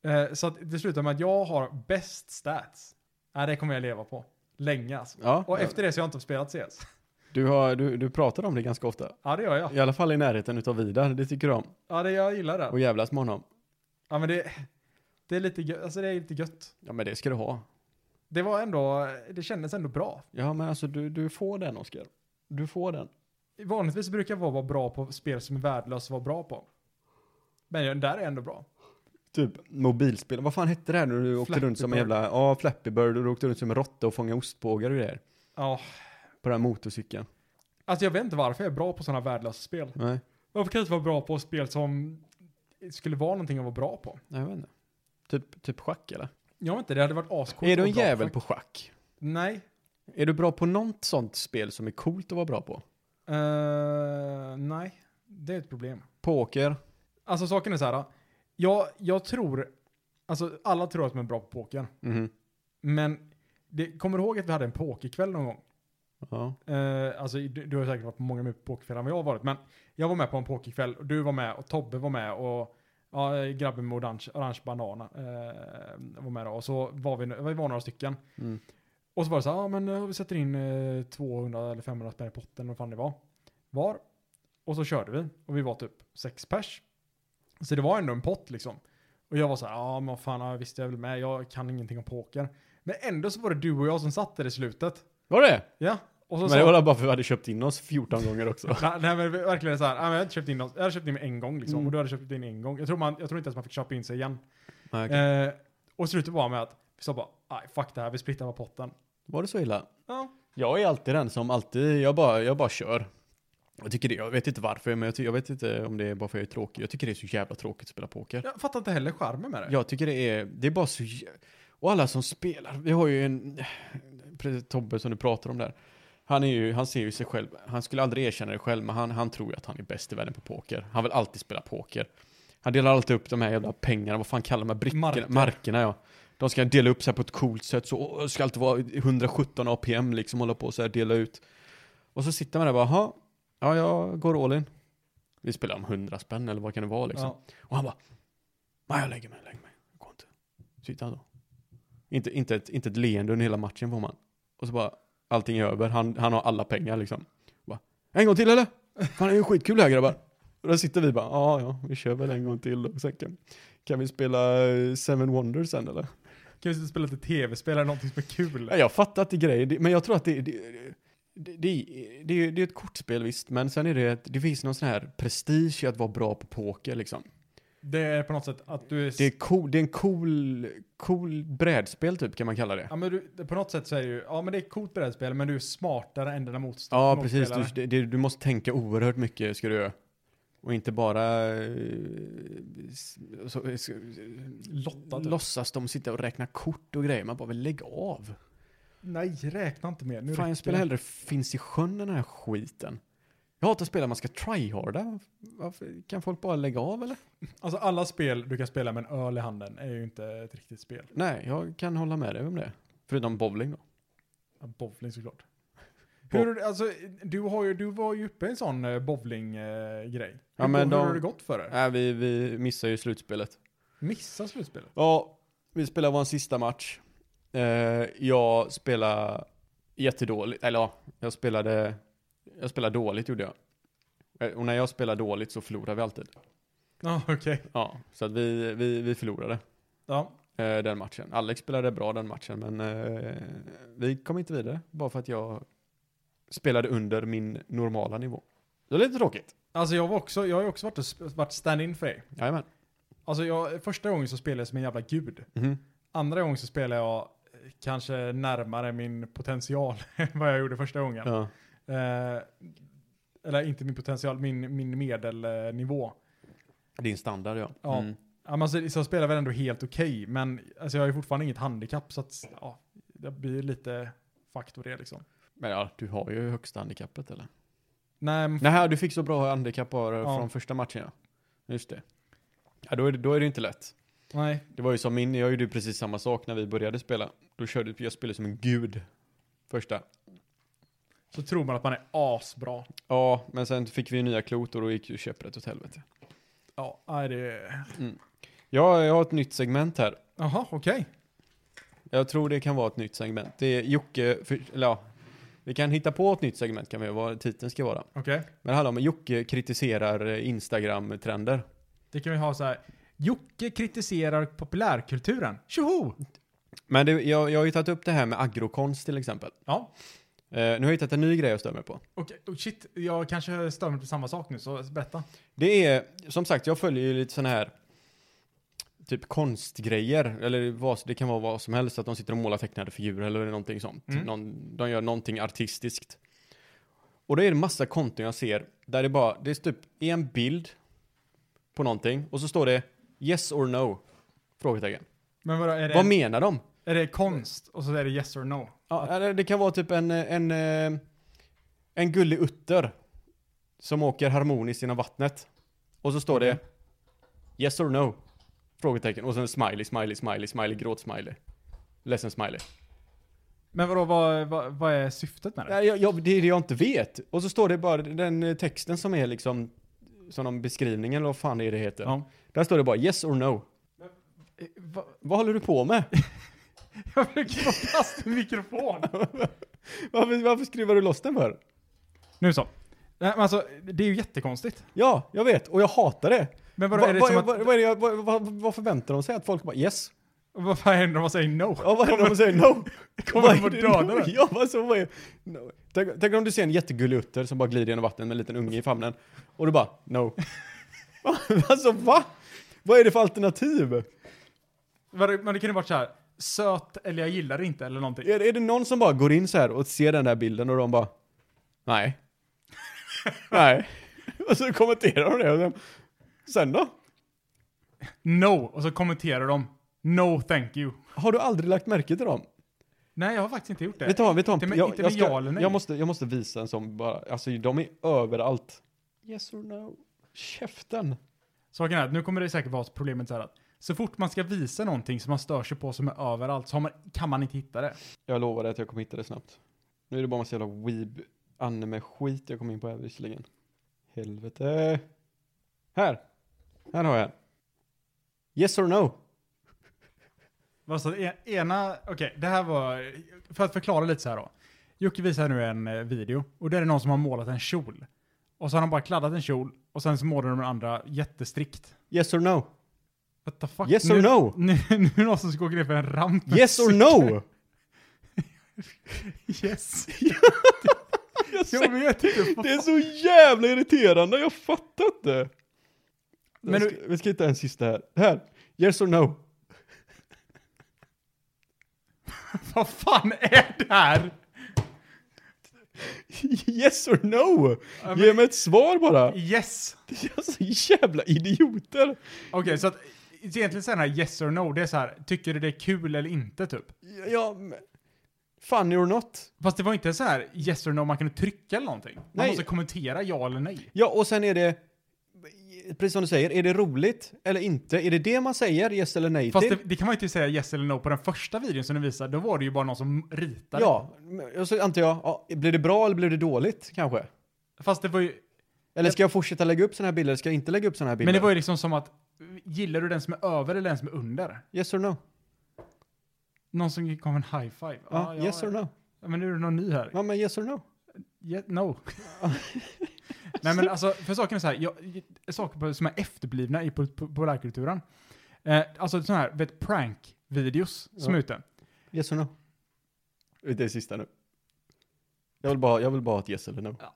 Speaker 1: Eh, så att det slutar med att jag har bäst stats. Nej, det kommer jag leva på. Länge alltså.
Speaker 3: Ja,
Speaker 1: Och
Speaker 3: ja.
Speaker 1: efter det så har jag inte spelat CS.
Speaker 3: Du, har, du, du pratar om det ganska ofta.
Speaker 1: Ja, det gör jag.
Speaker 3: I alla fall i närheten utav Vidar, det tycker du om.
Speaker 1: Ja, det, jag gillar det.
Speaker 3: Och jävlas med honom.
Speaker 1: Ja, men det, det är lite gött. Alltså det är lite gött.
Speaker 3: Ja, men det ska du ha.
Speaker 1: Det var ändå, det kändes ändå bra.
Speaker 3: Ja, men alltså du, du får den, Oskar. Du får den.
Speaker 1: Vanligtvis brukar jag vara vara bra på spel som är värdelöst att vara bra på. Men jag- där är jag ändå bra.
Speaker 3: Typ mobilspel. Vad fan hette det här när du åkte
Speaker 1: Flappy
Speaker 3: runt som en
Speaker 1: Bird.
Speaker 3: jävla, ja Flappy Bird och du åkte runt som en råtta och fångade ostbågar och grejer.
Speaker 1: Ja.
Speaker 3: På den här motorcykeln.
Speaker 1: Alltså jag vet inte varför jag är bra på sådana värdelösa spel.
Speaker 3: Nej,
Speaker 1: Varför kan jag inte vara bra på spel som skulle vara någonting att vara bra på?
Speaker 3: nej jag vet inte. Typ, typ schack eller?
Speaker 1: Jag vet inte, det hade varit ascoolt.
Speaker 3: är du
Speaker 1: att vara
Speaker 3: en
Speaker 1: bra
Speaker 3: jävel på schack?
Speaker 1: Nej.
Speaker 3: Är du bra på något sånt spel som är coolt att vara bra på?
Speaker 1: Eh, nej, det är ett problem.
Speaker 3: Poker?
Speaker 1: Alltså saken är så här. Jag, jag tror, alltså alla tror att man är bra på poker.
Speaker 3: Mhm.
Speaker 1: Men det, kommer du ihåg att vi hade en pokerkväll någon gång?
Speaker 3: Ja.
Speaker 1: Eh, alltså, du, du har säkert varit på många mer pokerkvällar än vad jag har varit. Men jag var med på en pokerkväll och du var med och Tobbe var med och ja, grabben med orange, orange banan eh, var med då. Och så var vi, vi var några stycken.
Speaker 3: Mm.
Speaker 1: Och så var det så här, ja men eh, vi sätter in eh, 200 eller 500 spänn i potten, vad fan det var. Var. Och så körde vi och vi var typ sex pers. Så det var ändå en pott liksom. Och jag var så här, ja men vad fan, ja, visst jag är väl med, jag kan ingenting om poker. Men ändå så var det du och jag som satt där i slutet.
Speaker 3: Var det?
Speaker 1: Ja. Och så
Speaker 3: Men
Speaker 1: sa-
Speaker 3: det var bara för att vi hade köpt in oss 14 gånger också.
Speaker 1: Nej, nej men verkligen så här, nej, men jag hade köpt in, någon- jag hade köpt in mig en gång liksom,
Speaker 3: Mm.
Speaker 1: och du hade köpt in en gång. Jag tror, man, jag tror inte ens man fick köpa in sig igen.
Speaker 3: Nej, okej.
Speaker 1: Eh, och slutet var med att vi sa bara, nej fuck det här, vi splittar på potten.
Speaker 3: Var det så illa?
Speaker 1: Ja.
Speaker 3: Jag är alltid den som alltid, jag bara, jag bara kör. Jag tycker det, jag vet inte varför, men jag, ty- jag vet inte om det är bara för att jag är tråkig. Jag tycker det är så jävla tråkigt att spela poker.
Speaker 1: Jag fattar inte heller charmen med det.
Speaker 3: Jag tycker det är, det är bara så jä- Och alla som spelar, vi har ju en, precis Tobbe som du pratar om där. Han, är ju, han ser ju sig själv, han skulle aldrig erkänna det själv, men han, han tror ju att han är bäst i världen på poker. Han vill alltid spela poker. Han delar alltid upp de här jävla pengarna, vad fan kallar man brickorna?
Speaker 1: Marker.
Speaker 3: Markerna. ja. De ska dela upp sig på ett coolt sätt, så åh, det ska alltid vara 117 APM liksom, hålla på och så här, dela ut. Och så sitter man där och bara, "Jaha, ja jag går all in. Vi spelar om 100 spänn eller vad kan det vara liksom.
Speaker 1: Ja.
Speaker 3: Och han bara, nej jag lägger mig, jag lägger mig. Det går inte. Sitter han då. Inte, inte, ett, inte ett leende under hela matchen får man. Och så bara, allting är över. Han, han har alla pengar liksom. Och Bara, en gång till eller? Fan det är ju skitkul här grabbar. Och då sitter vi bara, ja ja, vi kör väl en gång till och sen kan, kan vi spela eh, Seven Wonders sen eller?
Speaker 1: Kan vi inte spela lite tv-spel eller någonting som är kul?
Speaker 3: Ja, jag fattar att det är grejer, det- men jag tror att det, det, det, det, det, är ju- det är ett kortspel visst, men sen är det, ett- det finns någon sån här prestige i att vara bra på poker liksom.
Speaker 1: Det är på något sätt att du är...
Speaker 3: Det är, cool, det är en cool, cool brädspel typ kan man kalla det.
Speaker 1: Ja men du, det- på något sätt så är det ju, ja men det är ett coolt brädspel men du är smartare än dina motstånd-
Speaker 3: Ja,
Speaker 1: motspelare.
Speaker 3: precis. Du, det- det, du måste tänka oerhört mycket ska du göra. Och inte bara eh, s- så, s-
Speaker 1: Lotta, typ.
Speaker 3: låtsas de sitta och räkna kort och grejer. Man bara, väl lägg av.
Speaker 1: Nej, räkna inte mer. Nu
Speaker 3: Fan,
Speaker 1: räcker
Speaker 3: jag spelar
Speaker 1: det.
Speaker 3: hellre Finns i sjön än den här skiten. Jag hatar spel där man ska tryharda. Varför, kan folk bara lägga av eller?
Speaker 1: Alltså alla spel du kan spela med en öl i handen är ju inte ett riktigt spel.
Speaker 3: Nej, jag kan hålla med dig om det. Förutom bowling då.
Speaker 1: Ja, bowling såklart. Hur, alltså, du, har ju, du var ju uppe i en sån eh, bowling-grej. hur,
Speaker 3: Ja, men
Speaker 1: hur
Speaker 3: de-
Speaker 1: har det gått för dig?
Speaker 3: Nej, vi, vi missar ju slutspelet.
Speaker 1: Missa slutspelet?
Speaker 3: Ja, vi spelade vår sista match. Eh, jag spelade jättedåligt, eller ja, jag spelade, jag spelade dåligt gjorde jag. Eh, Och när jag spelar dåligt så förlorar vi alltid.
Speaker 1: Ja, okej.
Speaker 3: Ja, så att vi, vi, vi förlorade
Speaker 1: Ja.
Speaker 3: eh, den matchen. Alex spelade bra den matchen, men eh, vi kom inte vidare. Bara för att jag spelade under min normala nivå. Det är lite tråkigt.
Speaker 1: Alltså jag, var också, jag har ju också varit, och sp- varit stand-in för dig.
Speaker 3: Jajamän.
Speaker 1: Alltså jag, första gången så spelade jag som en jävla gud.
Speaker 3: Mhm.
Speaker 1: Andra gången så spelade jag eh, kanske närmare min potential än vad jag gjorde första gången.
Speaker 3: Ja.
Speaker 1: Eh, eller inte min potential, min, min medelnivå.
Speaker 3: Din standard ja.
Speaker 1: Ja.
Speaker 3: Mm.
Speaker 1: Ja, men alltså, så jag spelar väl ändå helt okej, men alltså, jag har ju fortfarande inget handikapp så att ja, jag blir lite faktor det liksom.
Speaker 3: Men ja, du har ju högsta handikappet eller?
Speaker 1: Nej, men f-
Speaker 3: Nej, du fick så bra handikapp bara
Speaker 1: Ja.
Speaker 3: från första matchen ja. Just det. Ja, då är det, då är det inte lätt.
Speaker 1: nej.
Speaker 3: Det var ju som min, jag gjorde ju precis samma sak när vi började spela. Då körde jag spelade som en gud. Första.
Speaker 1: Så tror man att man är asbra.
Speaker 3: Ja, men sen fick vi ju nya klot och då gick ju käpprätt åt helvete.
Speaker 1: Ja, nej det...
Speaker 3: Ja, jag har ett nytt segment här.
Speaker 1: Jaha, okej.
Speaker 3: Jag tror det kan vara ett nytt segment. Det är Jocke, för, eller ja, vi kan hitta på ett nytt segment kan vi, vad titeln ska vara.
Speaker 1: Okej.
Speaker 3: Men det handlar om att Jocke kritiserar eh, Instagram-trender.
Speaker 1: Det kan vi ha så här. Jocke kritiserar populärkulturen. Tjoho!
Speaker 3: Men det, jag, jag har ju tagit upp det här med agrokonst till exempel.
Speaker 1: Ja,
Speaker 3: Eh, nu har jag hittat en ny grej jag stör mig på.
Speaker 1: okej. Oh, shit, jag kanske stör mig på samma sak nu, så berätta.
Speaker 3: Det är, som sagt, jag följer ju lite sådana här typ konstgrejer, eller vad, det kan vara vad som helst, att de sitter och målar tecknade figurer eller någonting sånt.
Speaker 1: Mm.
Speaker 3: Någon, de gör någonting artistiskt. Och då är det massa konton jag ser där det bara, det är typ en bild på någonting och så står det yes or no? Frågetecken.
Speaker 1: Men vadå, är det,
Speaker 3: Vad menar de?
Speaker 1: är det konst och så är det yes or no?
Speaker 3: Ja, eller det kan vara typ en, en, eh, en gullig utter som åker harmoniskt genom vattnet. Och så står det Yes or no? Frågetecken. Och sen smiley, smiley, smiley, smiley, gråt-smiley. Ledsen smiley.
Speaker 1: Men vadå, vad, vad, vad är syftet med det?
Speaker 3: Nej, jag, jag, det är det jag inte vet. Och så står det bara den eh, texten som är liksom, som de beskrivningen eller vad fan det är det heter.
Speaker 1: Ja.
Speaker 3: Där står det bara yes or no.
Speaker 1: Eh, va-
Speaker 3: Vad håller du på med?
Speaker 1: Jag försöker få fast en mikrofon.
Speaker 3: varför, varför skruvar du loss den för?
Speaker 1: Nu så. Nej, men alltså, det är ju jättekonstigt.
Speaker 3: Ja, jag vet. Och jag hatar det.
Speaker 1: Men
Speaker 3: Vad
Speaker 1: vadå, är det som
Speaker 3: vad-
Speaker 1: att...
Speaker 3: vad- vad är det jag- vad- vad- vad förväntar de sig? Att folk bara yes?
Speaker 1: Vad fan händer om man säger no?
Speaker 3: Ja, vad händer om de säger no?
Speaker 1: Kommer
Speaker 3: Vad
Speaker 1: de
Speaker 3: är
Speaker 1: att
Speaker 3: det
Speaker 1: döda
Speaker 3: no?
Speaker 1: dig?
Speaker 3: Ja, vad så vad är... No. Tänk, tänk om du ser en jättegullig utter som bara glider genom vattnet med en liten unge i famnen. Och du bara no. alltså va? Vad är det för alternativ?
Speaker 1: Vadå, Men det kan ju varit så här. Söt eller jag gillar det inte eller någonting.
Speaker 3: Är, är det någon som bara går in så här och ser den där bilden och de bara nej. nej. Och så kommenterar de det. Och sen, sen då?
Speaker 1: No! Och så kommenterar de. No thank you.
Speaker 3: Har du aldrig lagt märke till dem?
Speaker 1: Nej, jag har faktiskt inte gjort det.
Speaker 3: Vet du vad, vet du vad?
Speaker 1: Inte med-
Speaker 3: jag,
Speaker 1: inte
Speaker 3: jag,
Speaker 1: med ja eller nej.
Speaker 3: jag, måste, jag måste visa en sån bara, alltså de är överallt. Yes or no? Käften.
Speaker 1: Saken är att nu kommer det säkert vara problemet så här att så fort man ska visa någonting som man stör sig på som är överallt så har man, kan man inte hitta det.
Speaker 3: Jag lovar dig att jag kommer hitta det snabbt. Nu är det bara massa jävla weeb anime skit jag kom in på här visserligen. Helvete. Här. Här har jag en. Yes or no?
Speaker 1: Alltså, e- ena, okej, det här var, för att förklara lite så här då. Jocke visar nu en eh, video och där är det någon som har målat en kjol. Och så har de bara kladdat en kjol och sen så målar de den andra jättestrikt.
Speaker 3: Yes or no?
Speaker 1: What the fuck?
Speaker 3: Yes
Speaker 1: nu,
Speaker 3: or no?
Speaker 1: Nu, nu är det någon som ska åka ner för en ramp. med
Speaker 3: Yes or
Speaker 1: cykel.
Speaker 3: no?
Speaker 1: Yes.
Speaker 3: Jag ser-
Speaker 1: Jag vet inte. vad
Speaker 3: Det
Speaker 1: fan.
Speaker 3: är så jävla irriterande, jag fattar inte.
Speaker 1: Men
Speaker 3: Men ska,
Speaker 1: du-
Speaker 3: Vi ska hitta en sista här. Här. Yes or no?
Speaker 1: Vad fan är det här?
Speaker 3: Yes or no?
Speaker 1: Ja,
Speaker 3: Ge mig ett svar bara.
Speaker 1: Yes.
Speaker 3: Alltså jävla idioter.
Speaker 1: Okej, så att egentligen så är den här yes or no, det är så här, tycker du det är kul eller inte typ?
Speaker 3: Ja, men- funny or not.
Speaker 1: Fast det var inte så här yes or no man kunde trycka eller någonting. Man
Speaker 3: Nej.
Speaker 1: måste kommentera ja eller nej.
Speaker 3: Ja, och sen är det, precis som du säger, är det roligt eller inte? Är det det man säger, yes eller nej
Speaker 1: Fast
Speaker 3: till?
Speaker 1: det, det kan man ju inte säga yes eller no på den första videon som du visade, då var det ju bara någon som ritade.
Speaker 3: Ja, och så antar jag, ja, blir det bra eller blir det dåligt kanske?
Speaker 1: Fast det var ju,
Speaker 3: Eller ska jag fortsätta lägga upp sådana här bilder eller ska jag inte lägga upp sådana här bilder?
Speaker 1: men det var ju liksom som att, gillar du den som är över eller den som är under?
Speaker 3: Yes or no?
Speaker 1: Någon som gav en high five. Ah,
Speaker 3: Ja,
Speaker 1: ja,
Speaker 3: yes or no?
Speaker 1: ja, Men nu är det någon ny här.
Speaker 3: Ja, men yes or no?
Speaker 1: Yeah, no. Nej men alltså, för saken är så här, jag, saker på- som är efterblivna i pop- populärkulturen. Eh, alltså sådana här, vet prank-videos som
Speaker 3: Ja.
Speaker 1: är ute.
Speaker 3: Yes or no? Det är det sista nu. Jag vill bara, jag vill bara ha ett yes eller no.
Speaker 1: Ja.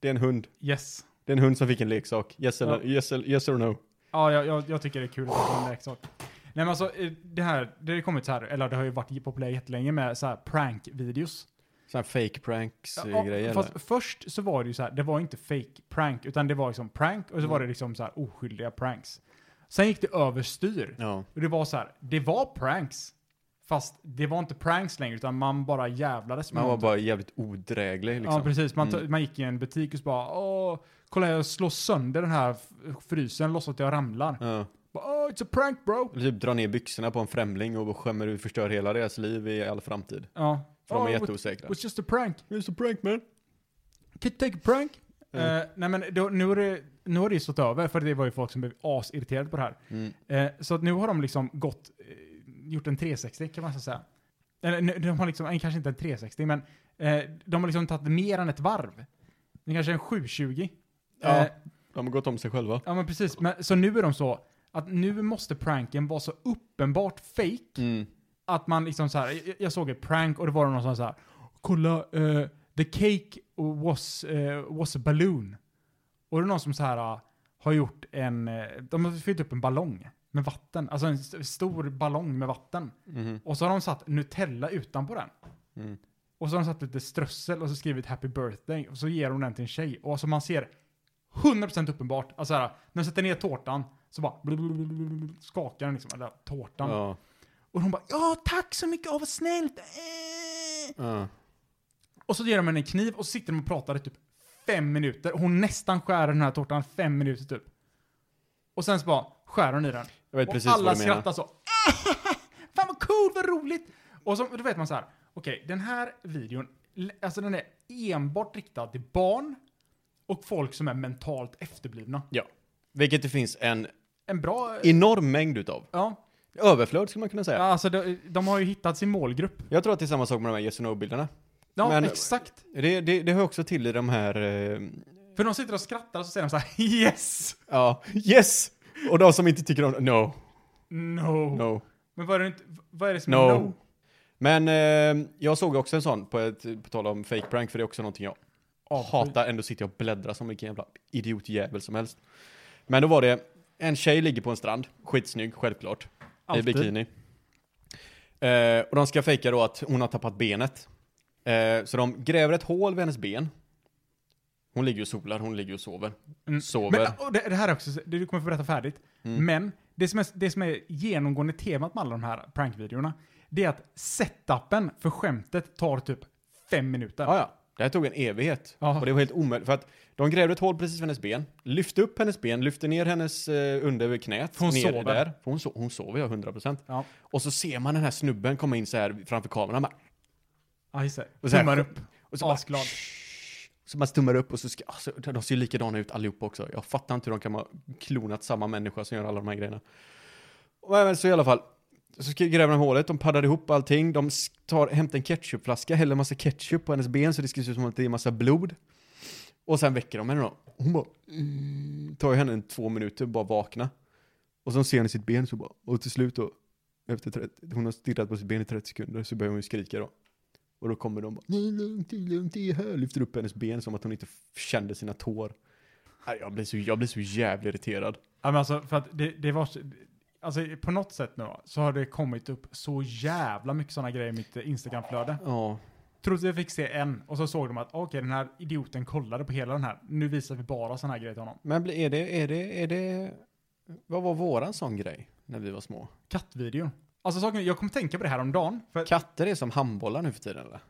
Speaker 3: Det är en hund.
Speaker 1: Yes.
Speaker 3: Det är en hund som fick en leksak. Yes, eller,
Speaker 1: Ja.
Speaker 3: yes, eller- yes or no?
Speaker 1: Ja, jag, jag, jag tycker det är kul att det är en leksak. Nej men alltså, eh, det här, det har ju kommit så här, eller det har ju varit populärt jättelänge med så här prank-videos.
Speaker 3: Sådana fake pranks
Speaker 1: Ja,
Speaker 3: eh, grejer.
Speaker 1: fast
Speaker 3: eller?
Speaker 1: först så var det ju så här, det var inte fake prank, utan det var liksom prank och så
Speaker 3: Mm.
Speaker 1: var det liksom så här oskyldiga pranks. Sen gick det överstyr.
Speaker 3: Ja.
Speaker 1: Och det var så här, det var pranks. Fast det var inte pranks längre, utan man bara jävlades med
Speaker 3: Man var
Speaker 1: någonting.
Speaker 3: bara jävligt odräglig liksom.
Speaker 1: Ja, precis. Man, t-
Speaker 3: Mm.
Speaker 1: man gick i en butik och så bara, åh, kolla jag slår sönder den här f- frysen, låtsas att jag ramlar.
Speaker 3: Ja.
Speaker 1: Bara, åh, it's a prank bro!
Speaker 3: Eller typ dra ner byxorna på en främling och skämmer ut, förstör hela deras liv i all framtid.
Speaker 1: Ja.
Speaker 3: För de är
Speaker 1: "Oh, it
Speaker 3: jätteosäkra.
Speaker 1: was just a prank.
Speaker 3: It's a prank man.
Speaker 1: Can you take a prank?
Speaker 3: Mm.
Speaker 1: Eh, nej men då, nu har det, nu har det ju stått över, för det var ju folk som blev asirriterade på det här.
Speaker 3: Mm.
Speaker 1: Eh, så att nu har de liksom gått, eh, gjort en 360 kan man så säga. Eller nu- de har liksom, eh, kanske inte en 360, men eh, de har liksom tagit mer än ett varv. Det kanske är en 720.
Speaker 3: Ja.
Speaker 1: Eh,
Speaker 3: De har gått om sig själva.
Speaker 1: ja men precis. Men, så nu är de så, att nu måste pranken vara så uppenbart fake
Speaker 3: Mm.
Speaker 1: att man liksom så här, jag, jag såg ett prank och det var någon som så här, kolla, eh, the cake was, eh, was a ah, balloon. Och det är någon som så här eh, har gjort en, eh, de har fyllt upp en ballong med vatten. Alltså en st- stor ballong med vatten.
Speaker 3: Mhm.
Speaker 1: Och så har de satt Nutella utanpå den.
Speaker 3: Mm.
Speaker 1: Och så har de satt lite strössel och så skrivit happy birthday. Och så ger de den till en tjej. Och alltså man ser 100% uppenbart. Alltså så här, när de sätter ner tårtan så bara blablabla, skakar den liksom. Eller tårtan.
Speaker 3: Ja.
Speaker 1: Och hon bara ja tack så mycket, åh vad snällt. Eh.
Speaker 3: Ja.
Speaker 1: Och så ger de henne en kniv och så sitter de och pratar i typ fem minuter. Och hon nästan skär den här tårtan fem minuter typ. Och sen så bara skär hon i den.
Speaker 3: Jag vet
Speaker 1: Och
Speaker 3: precis
Speaker 1: alla
Speaker 3: vad du menar.
Speaker 1: skrattar så. "Eh, Fan vad cool, vad roligt! Och så, då vet man så här. Okej, den här videon, l- alltså den är enbart riktad till barn och folk som är mentalt efterblivna.
Speaker 3: Vilket det finns en
Speaker 1: En bra...
Speaker 3: enorm mängd utav.
Speaker 1: ja.
Speaker 3: Överflöd skulle man kunna
Speaker 1: ja,
Speaker 3: säga.
Speaker 1: alltså de, de har ju hittat sin målgrupp.
Speaker 3: Jag tror att det är samma sak med de här Yes no bilderna
Speaker 1: Ja,
Speaker 3: Men-
Speaker 1: exakt.
Speaker 3: det, det, det hör också till i de här, eh,
Speaker 1: För de sitter och skrattar och så säger de så här yes!
Speaker 3: ja, yes! Och de som inte tycker om, no,
Speaker 1: No.
Speaker 3: no.
Speaker 1: Men vad är det, inte- vad är det som
Speaker 3: No.
Speaker 1: är no?
Speaker 3: Men eh, jag såg också en sån, på, ett, på tal om fake prank, för det är också någonting jag hatar. Ändå sitter jag och bläddrar som vilken jävla idiotjävel som helst. Men då var det, en tjej ligger på en strand, skitsnygg, självklart,
Speaker 1: Alltid.
Speaker 3: i bikini. Eh, och de ska fejka då att hon har tappat benet. Eh, så de gräver ett hål vid hennes ben. Hon ligger och solar, hon ligger och sover.
Speaker 1: Mm.
Speaker 3: Sover.
Speaker 1: Men, och det, det här är också, du kommer få berätta färdigt.
Speaker 3: Mm.
Speaker 1: Men det som, är, det som är genomgående temat med alla de här prankvideorna, det är att setupen för skämtet tar typ fem minuter.
Speaker 3: Ja, ja. Det här tog en evighet.
Speaker 1: Ja.
Speaker 3: Och det var helt omöjligt. För att de grävde ett hål precis vid hennes ben, lyfte upp hennes ben, lyfte ner hennes eh, under knät.
Speaker 1: För hon
Speaker 3: ner
Speaker 1: sover.
Speaker 3: Där. För hon, so- hon sover, ja, 100 procent.
Speaker 1: Ja.
Speaker 3: Och så ser man den här snubben komma in så här framför kameran. Bara,
Speaker 1: Ja, just det.
Speaker 3: Och så här-
Speaker 1: Tummar upp.
Speaker 3: och så bara,
Speaker 1: Asglad.
Speaker 3: "Shh." Så man stummar upp och så ska, alltså, de ser ju likadana ut allihopa också. Jag fattar inte hur de kan ha klonat samma människa som gör alla de här grejerna. Och, men, så i alla fall, så ska- gräver de hålet, de paddar ihop allting, de s- tar, hämtar en ketchupflaska, häller en massa ketchup på hennes ben så det ska se ut som att det är en massa blod. Och sen väcker de henne då. Hon bara, mm, tar ju henne en två minuter, bara vakna. Och så ser hon sitt ben så bara, och till slut då, efter 30, hon har stirrat på sitt ben i 30 sekunder så börjar hon ju skrika då. Och då kommer de bara, nej lugnt, det är lugnt, det är här. Lyfter upp hennes ben som att hon inte f- kände sina tår. Nej, Jag blir så, jag blir så jävligt irriterad.
Speaker 1: Ja, men alltså, för att det, det var... så- Alltså på något sätt nu så har det kommit upp så jävla mycket sådana grejer i mitt eh, Instagramflöde.
Speaker 3: Ja.
Speaker 1: Trodde jag fick se en och så såg de att "Ah, okej den här idioten kollade på hela den här. Nu visar vi bara sådana här grejer till honom.
Speaker 3: Men blir- är det, är det, är det, vad var våran sån grej när vi var små?
Speaker 1: Kattvideon. Alltså saken, jag kom att tänka på det här om dagen. För,
Speaker 3: Katter är som handbollar nu för tiden eller?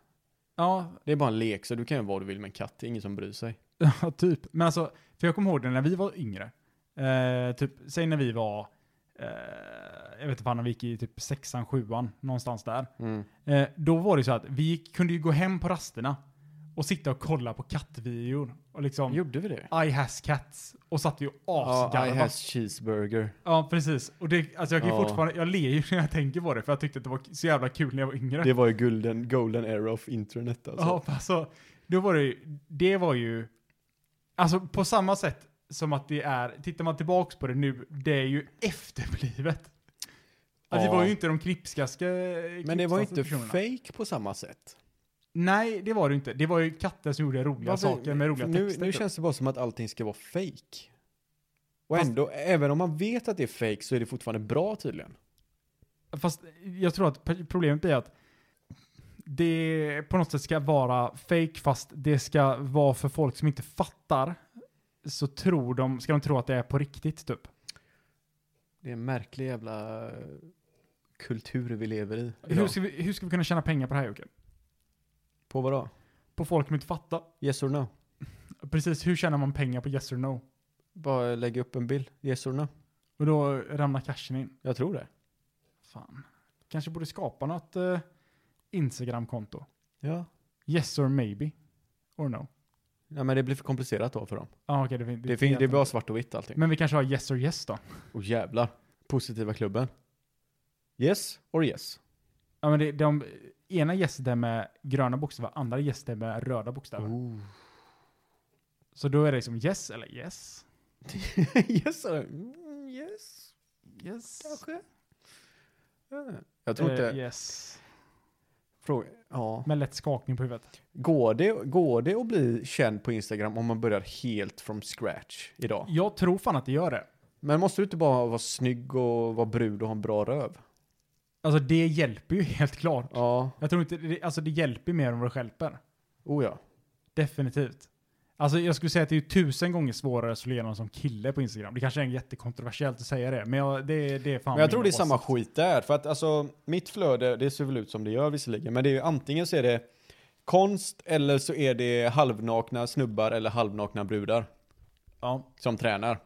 Speaker 1: ja,
Speaker 3: Det är bara en lek så du kan göra vad du vill med en katt, det är ingen som bryr sig.
Speaker 1: Ja, typ. Men alltså, för jag kommer ihåg det när vi var yngre. Eh, typ, säg när vi var, eh, jag vet inte fan, när vi gick i typ sexan, sjuan, någonstans där. Eh, då var det så att vi gick, kunde ju gå hem på rasterna och sitta och kolla på kattvideor. Och liksom,
Speaker 3: Gjorde vi det?
Speaker 1: I has cats. Och satt vi och
Speaker 3: Ja, I
Speaker 1: asgarvade. Ja,
Speaker 3: has cheeseburger.
Speaker 1: precis. Och det, alltså jag kan ju
Speaker 3: Ja.
Speaker 1: fortfarande, jag ler ju när jag tänker på det, för jag tyckte att det var så jävla kul när jag var yngre.
Speaker 3: Det var ju golden, golden era of internet alltså.
Speaker 1: Ja, alltså, då var det, ju- det var ju, alltså på samma sätt som att det är, tittar man tillbaks på det nu, det är ju efterblivet. Alltså,
Speaker 3: Ja.
Speaker 1: Det var ju inte de knipskaste
Speaker 3: Men det var ju
Speaker 1: knipskaste
Speaker 3: inte fake på samma sätt.
Speaker 1: Nej, det var det inte. Det var ju katter som gjorde roliga
Speaker 3: Varför-
Speaker 1: saker Alltså, med roliga
Speaker 3: nu,
Speaker 1: texter.
Speaker 3: nu
Speaker 1: typ.
Speaker 3: känns det bara som att allting ska vara fake. Och
Speaker 1: Fast-
Speaker 3: ändå, även om man vet att det är fake så är det fortfarande bra tydligen.
Speaker 1: Fast jag tror att p- problemet är att det på något sätt ska vara fake fast det ska vara för folk som inte fattar så tror de, ska de tro att det är på riktigt typ.
Speaker 3: Det är en märklig jävla eh, kultur vi lever i.
Speaker 1: Hur ska, vi, hur ska vi kunna tjäna pengar på det här Jocke?
Speaker 3: På vadå?
Speaker 1: På folk som inte fattar.
Speaker 3: Yes or no?
Speaker 1: Precis, hur tjänar man pengar på yes or no?
Speaker 3: Bara lägga upp en bild. Yes or no?
Speaker 1: Och då ramlar cashen in.
Speaker 3: Jag tror det.
Speaker 1: Fan. Kanske borde skapa något eh, Instagram-konto.
Speaker 3: Ja.
Speaker 1: Yes or maybe. Or no.
Speaker 3: Nej men det blir för komplicerat då för dem.
Speaker 1: Ja, ah, okej. det fin-
Speaker 3: Det, fin- det är bara svart och vitt allting.
Speaker 1: Men vi kanske har yes or yes då?
Speaker 3: Och jävlar. Positiva klubben. Yes or yes?
Speaker 1: Ja, men det, de, ena yes det är med gröna bokstäver, andra yes det är med röda bokstäver.
Speaker 3: Ooh.
Speaker 1: Så då är det liksom yes eller yes.
Speaker 3: yes or mm, yes?
Speaker 1: Yes.
Speaker 3: Kanske? Ja. Jag
Speaker 1: Eh,
Speaker 3: tror inte...
Speaker 1: yes.
Speaker 3: Fråga, ja.
Speaker 1: Med lätt skakning på huvudet.
Speaker 3: Går det, går det att bli känd på Instagram om man börjar helt from scratch idag?
Speaker 1: Jag tror fan att det gör det.
Speaker 3: Men måste du inte bara vara snygg och vara brud och ha en bra röv?
Speaker 1: Alltså det hjälper ju helt klart.
Speaker 3: Ja,
Speaker 1: Jag tror inte, det, alltså det hjälper mer än vad det stjälper.
Speaker 3: oh ja.
Speaker 1: Definitivt. Alltså jag skulle säga att det är ju tusen gånger svårare att slå igenom som kille på Instagram. Det kanske är jättekontroversiellt att säga det, men jag, det, det är fan
Speaker 3: Men jag
Speaker 1: min
Speaker 3: tror det är samma
Speaker 1: åsikt.
Speaker 3: skit där. För att alltså, mitt flöde, det ser väl ut som det gör visserligen. Men det är ju antingen så är det konst eller så är det halvnakna snubbar eller halvnakna brudar
Speaker 1: Ja,
Speaker 3: som tränar.